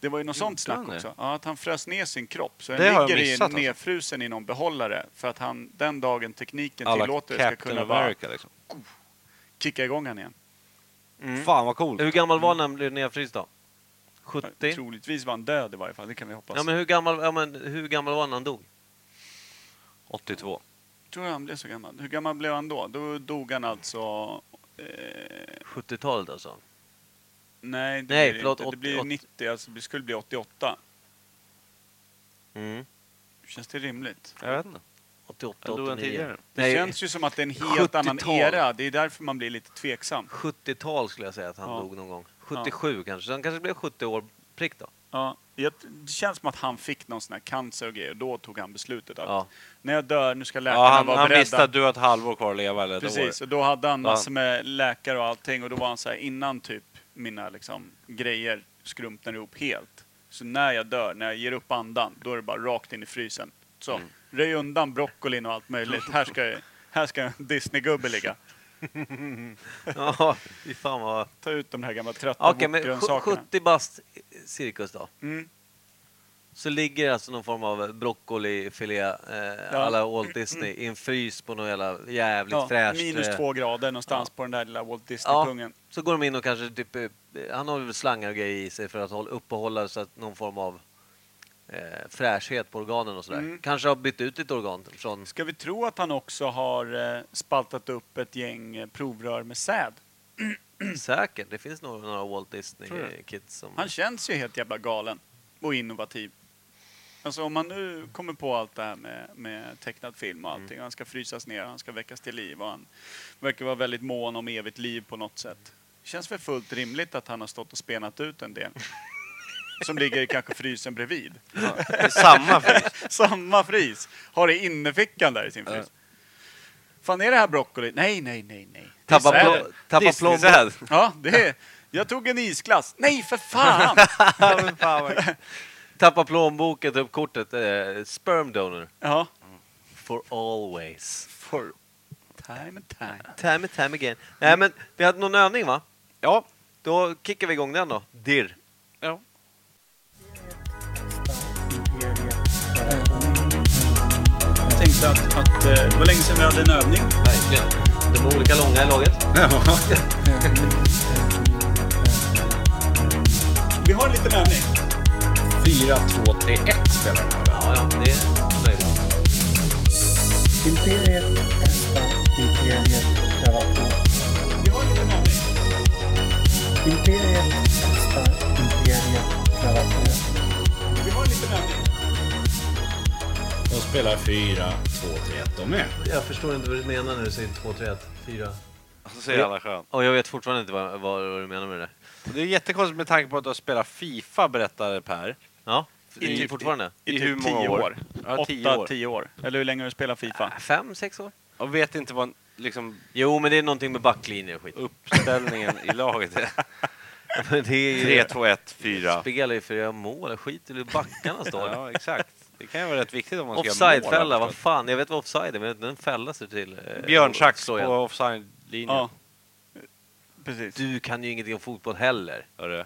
Det var ju något sånt
Gjorde
snack
han det?
också. Ja, att han frös ner sin kropp. Så den
Det har jag
ligger i,
missat, alltså.
nedfrusen i någon behållare för att han den dagen tekniken
Alla
tillåter ska
Captain
kunna bara
America liksom.
kicka igång han igen. Mm.
Fan vad coolt.
Hur gammal var han när han blev nedfryst då? 70?
Troligtvis var han död i varje fall, det kan vi hoppas.
Ja, men hur gammal, ja, men hur gammal var han när han dog?
82.
Tror du han blev så gammal? Hur gammal blev han då? Då dog han alltså... Eh,
70-talet alltså?
nej, det
Nej,
blir
förlåt,
inte. Det blir
80.
90, alltså det skulle bli 88.
Mm.
Känns det rimligt?
Jag vet inte.
88,
Jag dog han
89?
tidigare.
Det
Nej,
känns ju som att det är en helt annan
70-tal.
era. Det är därför man blir lite tveksam.
70-tal skulle jag säga att han
Ja.
dog någon gång. 77 kanske, så han kanske blev 70 år prick då.
Ja, jag- det känns som att han fick någon sån här cancer och grejer. Och då tog han beslutet att
Ja.
när jag dör, nu ska läkarna
Ja, han,
vara
han
beredda.
visste att du har ett halvår kvar att leva eller ett
Precis,
år.
och då hade han
Ja.
massor med läkare och allting. Och då var han så här, innan typ mina liksom, grejer skrumpnar ihop helt. Så när jag dör, när jag ger upp andan, då är det bara rakt in i frysen. Så,
Mm.
röj undan broccolin och allt möjligt. Här ska, jag- här ska en Disneygubbe ligga.
Ja, fy fan vad...
Ta ut de här gamla trötta
Okej, men sj-
grönsakerna.
70 bast cirkus då.
Mm.
Så ligger det alltså någon form av broccolifilé eh,
Ja.
alla Walt Disney i en frys på något jävla jävligt
Ja,
fräscht...
minus
eh,
två grader någonstans på den där lilla Walt Disney-pungen.
Så går de in och kanske typ, eh, han har väl slangar och grejer i sig för att hålla, uppehålla så att någon form av eh, fräschhet på organen och sådär.
Mm.
Kanske har bytt ut ett organ från...
Ska vi tro att han också har eh, spaltat upp ett gäng eh, provrör med säd?
Säkert, det finns nog några Walt
Tror du?
Disney-kids som...
Han känns ju helt jävla galen och innovativ. Alltså om man nu kommer på allt det här med, med tecknad film och allting. Han ska frysas ner, han ska väckas till liv och han verkar vara väldigt mån om evigt liv på något sätt. Känns väl fullt rimligt att han har stått och spenat ut en del. Som ligger i kanske frysen bredvid.
Det är samma frys.
Samma frys. Har det i innerfickan där i sin frys. Fan, är det här broccoli? Nej, nej, nej, nej. Det är
Tappa
säden.
plå- tappa
Disney
plånbok.
säd.
Ja, det är... Jag tog en isglass. Nej, för fan!
Tappa plånboken, ta upp kortet. Eh, sperm donor.
Ja.
For always.
For time and time.
Time and time again. Nej men, vi hade någon övning va?
Ja.
Då kickar vi igång den då. Dirr.
ja.
Jag tänkte att, att eh, det var länge sedan vi hade en övning.
Verkligen. De är olika långa i laget.
Vi har en liten övning.
4, 2, 3, 1 spelar den här.
Ja, ja, det är möjligt.
Vi har en liten övning. Vi har en liten övning.
De spelar 4, 2, 3, 1 de med.
Jag förstår inte vad du menar när du säger 2, 3, 1, 4.
Så ser alla skön.
Och jag vet fortfarande inte vad, vad, vad du menar med det där.
Det är jättekonstigt med tanke på att du har spelat Fifa berättade Per.
Ja, I typ fortfarande?
I
I
hur
typ
många
tio
år?
år.
Ja, tio
Åtta,
år. Äh,
tio år. Eller hur länge har du spelat Fifa?
Fem, sex år?
Och vet inte vad en liksom
Jo, men det är någonting med backlinjer och skit.
uppställningen i laget är
Men det är ju...
3, 2, 1, 4.
Spelar ju för att göra mål. Skit i hur backarna står.
Ja, exakt. Det kan ju vara rätt viktigt om man ska göra mål.
Offside-fälla, vad
absolut.
fan. Jag vet vad offside är, men den fälla sig till... eh,
Björn Schack
så
på
igen.
offside-linjen.
Ja. Precis.
Du kan ju ingenting om fotboll heller,
Hörru, jag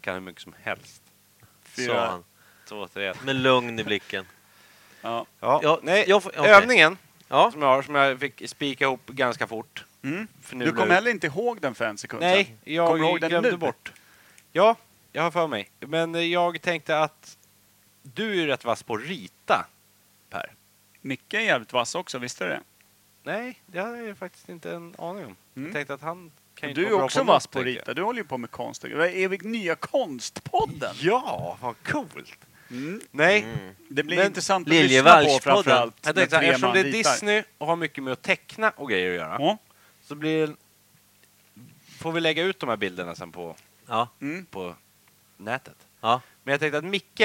kan hur mycket som helst.
sa
Fyra.
han.
2, 3, 1.
Med lugn i blicken.
Ja.
Ja,
Ja,
nej,
jag får- okej.
övningen
Ja,
som jag har, som jag fick spika ihop ganska fort.
Mm.
För nu
Du kom
blev-
heller inte ihåg den för en sekund
Nej,
sedan.
jag
Kommer du ihåg den
glömde
nu?
bort. Ja, jag har för mig. Men eh, jag tänkte att du är ju rätt vass på att rita, Per.
Micke är jävligt vass också, visste du det?
Nej, det hade jag ju faktiskt inte en aning om.
Mm.
Jag tänkte att han kan ju
Du
inte
är
vara bra
också
något,
vass på att
tänker jag.
rita. Du håller ju på med konst. Vad Är vi nya konstpodden?
Ja, vad coolt!
Mm.
Nej,
Det blir
Men
intressant att lyssna på
Liljevallspodden.
framförallt.
jag
när
tänkte så här,
tre
eftersom
man
det är
ritar.
Disney och har mycket med att teckna och grejer att göra
Ja.
så blir det... Får vi lägga ut de här bilderna sen på,
ja,
Mm.
på nätet.
ja.
Men jag tänkte att Micke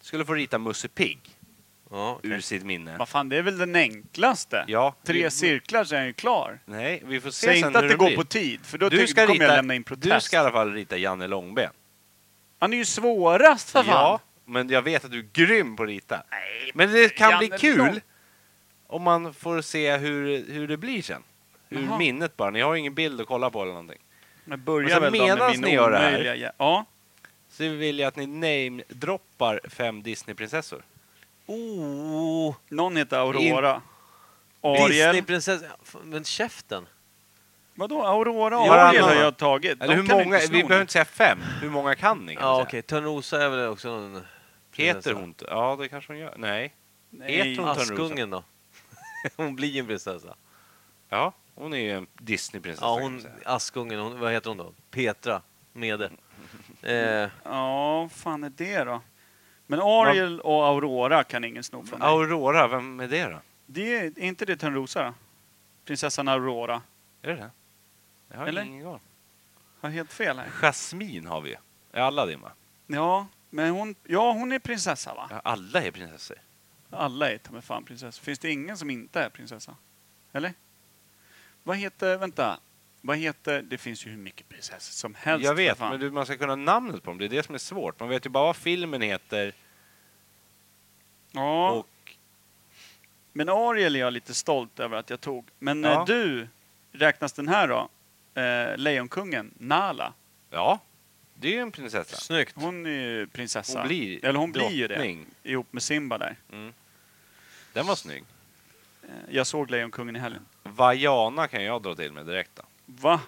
skulle få rita Musse Pigg
ja
ur
okej.
sitt minne.
Vad fan, det är väl den enklaste?
Ja.
Tre cirklar så är den ju klar.
Nej, vi får se
Säg
sen
inte att
hur
det går
blir.
på tid, för då
du
tycker,
ska
kommer jag
rita,
lämna in protest.
Du ska i alla fall rita Janne Långben.
Han är ju svårast för fan!
Ja, men jag vet att du är grym på att rita. men det kan
Janne
bli kul
Lång-
om man får se hur, hur det blir sen. Ur
Jaha.
minnet bara. Ni har ju ingen bild att kolla på eller någonting.
Men
Men
börja
sen
väl då med
medans
min
ni gör det här-
omöjliga... jä- Ja.
Så vill jag att ni namedroppar fem Disneyprinsessor.
Oh,
Någon heter Aurora. Ariel.
Disneyprinsessan. Men käften.
Vadå, Aurora och
Varannan.
Ariel har jag tagit.
Eller
De
hur
kan
många?
inte
Vi
sno
behöver
den.
inte säga fem. Hur många kan ni? Kan
Ja,
vi
okej. Törnrosa är väl också någon...
säga? Heter
prinsessa.
hon inte? Ja, det kanske hon gör. Nej.
Nej.
Heter hon Törnrosa?
Askungen då? Hon blir ju en prinsessa.
Ja, hon är ju en Disneyprinsessa.
Ja,
kan man
hon,
säga.
Askungen, hon, vad heter hon då? Petra Mede.
Mm.
Eh,
Ja, vad fan är det då? Men Ariel och Aurora kan ingen sno från mig.
Aurora, vem är det då?
Det är, är inte det Törnrosa då? Prinsessan Aurora.
Är det det? Jag har
Eller?
ingen aning.
Har jag helt fel här?
Jasmine har vi ju. Är alla det va?
Ja, men hon, ja, hon är prinsessa va?
Ja, alla är prinsessor.
Alla är ta mig fan prinsessa. Finns det ingen som inte är prinsessa? Eller? Vad heter, vänta. Vad heter, det finns ju hur mycket prinsessor som helst.
Jag vet,
för fan.
men du, man ska kunna namnet på dem. Det är det som är svårt. Man vet ju bara vad filmen heter
Ja,
och...
men Ariel är jag lite stolt över att jag tog. Men
Ja.
eh, du, räknas den här då? Eh, Lejonkungen, Nala.
Ja, det är ju en prinsessa.
snyggt.
Hon är ju prinsessa.
Hon blir
Eller hon blir ju det.
drottning.
Ihop med Simba där.
Den var snygg.
Eh, Jag såg Lejonkungen i helgen.
Vajana kan jag dra till med direkt då.
Va?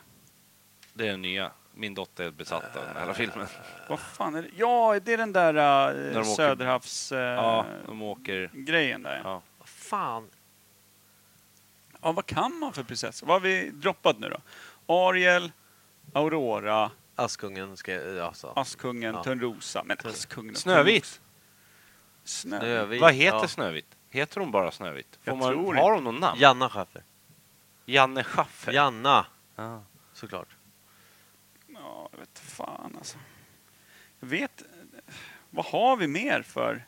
Det är den nya. Min dotter är besatt av den här filmen.
Vad fan är det? Ja, det är den där
de
uh,
åker-
Söderhavs... eh,
Ja, de åker...
Grejen där.
Ja.
Vad Fan.
Ja, vad kan man för prinsessor? Vad har vi droppat nu då? Ariel, Aurora,
Askungen ska jag... Alltså.
Askungen,
Ja.
Törnrosa. Men Askungen och
Snövit!
Törnrosa. Snö.
Snövit.
Vad heter
ja.
Snövit? Heter hon bara Snövit? Får
Jag
man,
tror
har hon någon namn?
Janna Schaffer.
Janne Schaffer?
Janna,
Ah.
såklart.
Ja, jag vet fan alltså. Jag vet... Vad har vi mer för...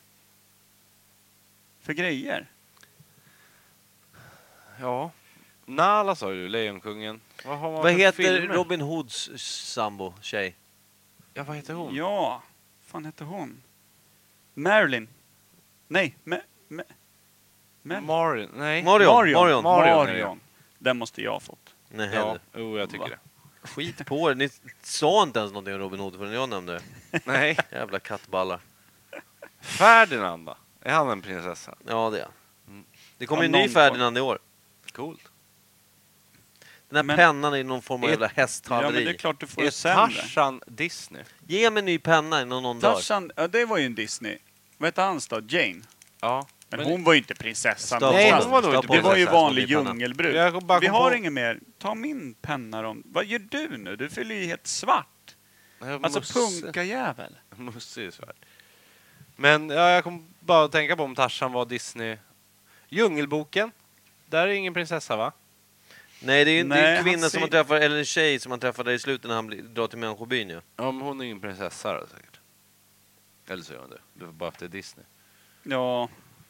För grejer?
Ja. Nala sa du, Lejonkungen. Vad, har man
Vad
för
heter
filmer?
Robin Hoods sambo, tjej?
Ja, vad heter hon?
Ja, fan heter hon? Marilyn. Nej, Ma- Ma- Ma-
Marion? Nej.
Marion.
Marion.
Marion.
Marion.
Marion. Den måste jag ha fått.
Nej,
Ja,
henne.
jo, jag tycker
Va?
det.
Skit på er. Ni sa inte ens någonting om Robin Hood förrän jag nämnde det.
Nej.
Jävla kattballar.
Ferdinand då? Är han en prinsessa?
Ja, det är han. Mm. Det kommer
Ja,
ju en ny
någon
Ferdinand i år.
Coolt.
Den här
Men-
pennan är någon form av
Är-
jävla
Ja, men det är
hästhaveri.
klart du får det
Är
sämre.
Tarzan Disney?
Ge mig en ny penna innan någon dör.
Tarzan, ja, det var ju en Disney. Vad hette hans då? Jane?
Ja.
Men, hon var ju inte prinsessan.
Stav-
Nej,
någonstans.
hon var nog
stav-
inte
det var ju
prinsessa som
vanlig
blev penna.
djungelbrud.
Jag bara kom
Vi har
på-
inget mer. Ta min penna då. Vad gör du nu? Du fyller ju helt svart. Alltså punkajävel.
Musse är svärd. Men ja, jag kom bara att tänka på om Tarzan var Disney. Djungelboken? Där är ingen prinsessa va?
Nej, det är ju det är
Nej,
en kvinna
han
som man
ser-
träffar, eller en tjej som man träffar där i slutet när han blir, drar till människobyn ju.
Ja, men hon är ingen prinsessa då, säkert. Eller så är hon det. Det var bara efter Disney.
Ja,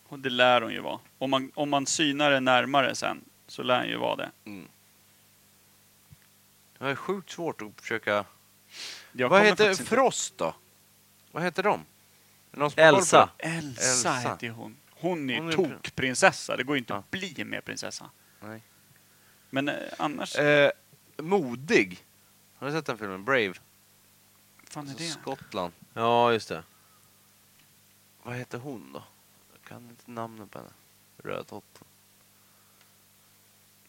och det lär hon ju vara. Om man, om man synar det närmare sen. så lär han ju vara det.
Det är sjukt svårt att försöka...
Jag
Vad
kommer
heter
faktiskt inte-
Frost då? Vad heter de? Är det någon som har koll på
Elsa.
det?
Elsa heter ju hon. Hon är
Hon
ju
är-
tokprinsessa. Det går ju inte att bli mer prinsessa.
Nej.
Men eh, annars...
Eh, modig. Har du sett den filmen? Brave.
fan är
Alltså
det?
Skottland.
Ja, just det.
Vad heter hon då? Jag kan inte namnet på henne. Rödhott.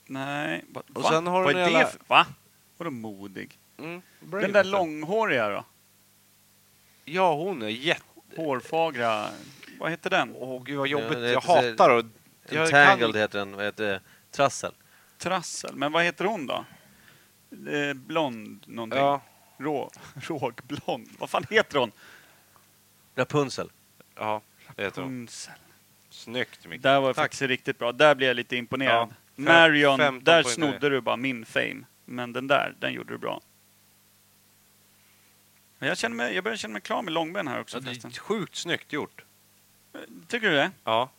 Nej. Va?
Och
va?
sen har
Vad
hon
är
hela-
det för... Va? Vadå modig?
Mm,
Den där långhåriga då?
Ja, hon är jätte...
Hårfagra... Vad heter den?
Åh gud vad jobbigt.
Ja, det
jag
heter-
hatar och... Jag
Entangled
kan...
heter den. Vad heter det? Trassel.
Trassel. Men vad heter hon då? Eh, blond någonting?
Ja.
Rå... Rågblond? Vad fan heter hon?
Rapunzel.
Ja, det heter hon.
Rapunzel.
Snyggt Micke.
Där var
Tack.
faktiskt riktigt bra. Där blev jag lite imponerad.
Ja. Fem-
Marion,
15
där
poäng
snodde
där.
du bara min fame. Men den där, den gjorde du bra. Men Jag, känner mig, jag börjar känna mig klar med långben här också
Ja, det
förresten.
är sjukt snyggt gjort.
Tycker du det?
Ja.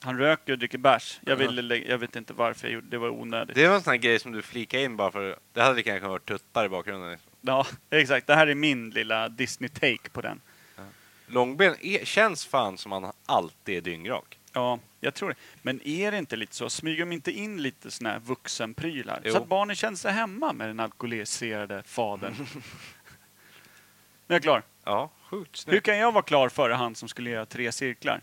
Han röker och dricker bärs. Jag, ville lägga- jag vet inte varför jag gjorde det. var onödigt.
Det var en sån här grej som du flikade in bara för... Det hade lika gärna kunnat vara tuttar i bakgrunden. Liksom.
Ja, exakt. Det här är min lilla Disney-take på den.
Långben är, känns fan som han alltid är dyngrak.
Ja, jag tror det. Men är det inte lite så? Smyger de inte in lite såna här vuxenprylar?
Jo.
Så att barnen känner sig hemma med den alkoholiserade fadern. Nu är jag klar.
Ja, sjukt
Hur
snyggt.
kan jag vara klar före han som skulle göra tre cirklar?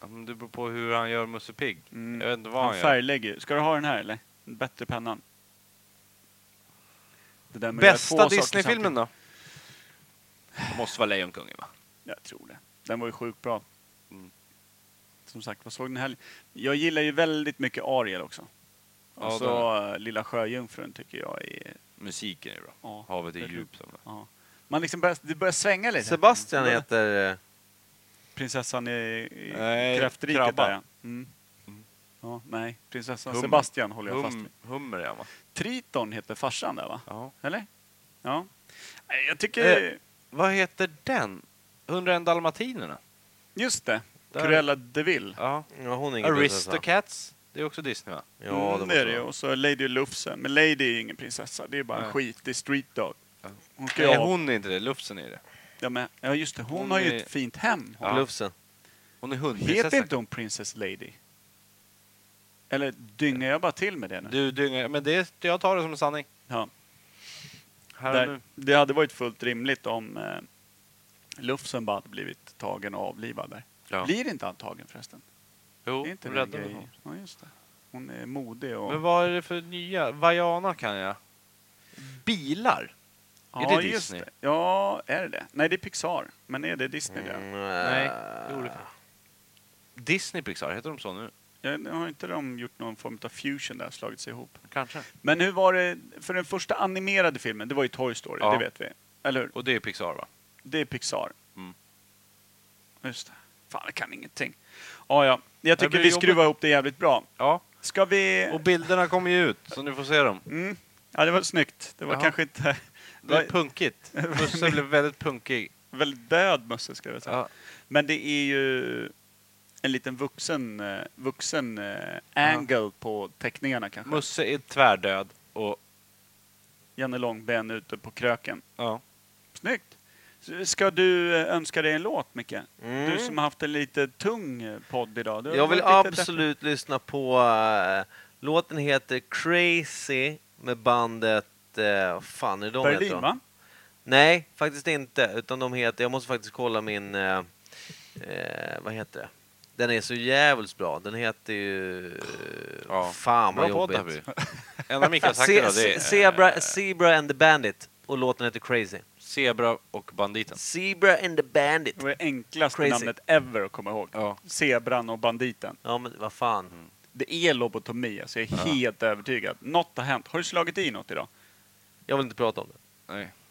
Ja, men det beror på hur han gör Musse Pigg.
Mm.
Jag vet inte vad
Han
han gör.
färglägger ju. Ska du ha den här eller? Den Bättre pennan. Det där med att göra två
Bästa
saker
Disney-filmen
samtidigt.
då? Det måste vara Lejonkungen va?
Jag tror det. Den var ju sjukt bra.
Mm.
Som sagt, vad såg den här? Jag gillar ju väldigt mycket Ariel också.
Ja,
och så eh, Lilla Sjöjungfrun tycker jag är...
Musiken är bra.
Ja.
Havet är
Det är
djupt. som det.
Ja. Man liksom börjar, det börjar svänga lite.
Sebastian heter... eh,
Prinsessan i, i
Nej,
kräftriket
krabba.
där ja. Mm. ja. Nej, prinsessan
Hummer.
Sebastian håller jag fast vid.
Hum, hummer är han va?
Triton heter farsan där va?
Ja.
Eller? Ja. Nej, Jag tycker...
Eh. Vad heter den? 101 dalmatinerna?
Just det.
Där.
Cruella de Vil.
Ja.
Ja, hon är ingen prinsessa.
Aristocats? Det är också Disney va?
Ja, det
mm,
måste
det är det ju.
vara.
Och så Lady Lufsen. Men Lady är ju ingen prinsessa. Det är bara en
Nej.
skitig street dog. Hon ska ju
Nej,
ha...
hon är inte det. Lufsen är det.
ja, men, ja, just det. Hon,
Hon
har ju
är-
ett fint hem.
Ja.
Lufsen.
Hon är
Heter
hundprinsessa.
inte hon Princess Lady? Eller dyngar jag bara till med det nu?
Du dyngar. Men det, jag tar det som en sanning.
Ja.
Här och
Där,
nu.
det hade varit fullt rimligt om eh, Lufsen bara hade blivit tagen och avlivad där.
Ja.
Blir inte han tagen förresten?
Jo,
är inte
hon
det en
räddade
grej?
honom.
Ja, just det. Hon är modig och...
Men vad är det för nya? Vajana kan jag. Bilar?
ja,
är det
just
Disney?
det. Ja, är det det? Nej, det är Pixar. Men är det Disney det?
Mm. Nej, det är olika. Disney Pixar, heter de så nu?
Jag, har inte de gjort någon form av fusion där, slagit sig ihop?
Kanske.
Men hur var det för den första animerade filmen? Det var ju Toy Story,
Ja.
det vet vi. Eller hur?
Och det är Pixar va?
Det är Pixar.
Mm.
Just det. Fan, jag kan ingenting. Ja, ja. Jag tycker
blir
vi
jobbigt.
skruvar ihop det jävligt bra.
Ja.
Ska vi...
Och bilderna kommer ju ut, så ni får se dem.
Mm. Ja, det var snyggt. Det var
Ja.
kanske inte...
Det är punkigt. Musse blev väldigt punkig.
Väldigt död mössa skulle jag säga.
Ja.
Men det är ju en liten vuxen, eh, vuxen eh, angle på teckningarna kanske.
Musse är tvärdöd och...
Janne Långben ute på kröken.
Ja.
Snyggt! S- Ska du eh, önska dig en låt, Micke?
Mm.
Du som har haft en lite tung eh, podd idag. Du har
Jag vill
varit lite
absolut lyssna på... eh, låten heter Crazy med bandet... eh, Vad fan är de
deppig.
heter
Berlin,
de?
va?
Nej, faktiskt inte. Utan de heter... Jag måste faktiskt kolla min... eh, eh, vad heter det? Den är så jävligt bra. Den heter ju...
Ja.
Fan vad
Bra podd här
jobbigt.
En av Mikas
Se-
hacker det är
se- Zebra, Zebra and the Bandit. Och låten heter Crazy.
Zebra och Banditen.
Zebra and the Bandit.
Det var det enklaste
Crazy.
namnet ever att komma ihåg.
Ja.
Zebran och banditen.
Ja, men vad fan.
Mm.
Det är lobotomi, alltså jag är helt övertygad. Något har hänt. Har du slagit i något idag?
Jag vill inte prata om det.
Oh, Oh,
Nej.
Oh, Oh,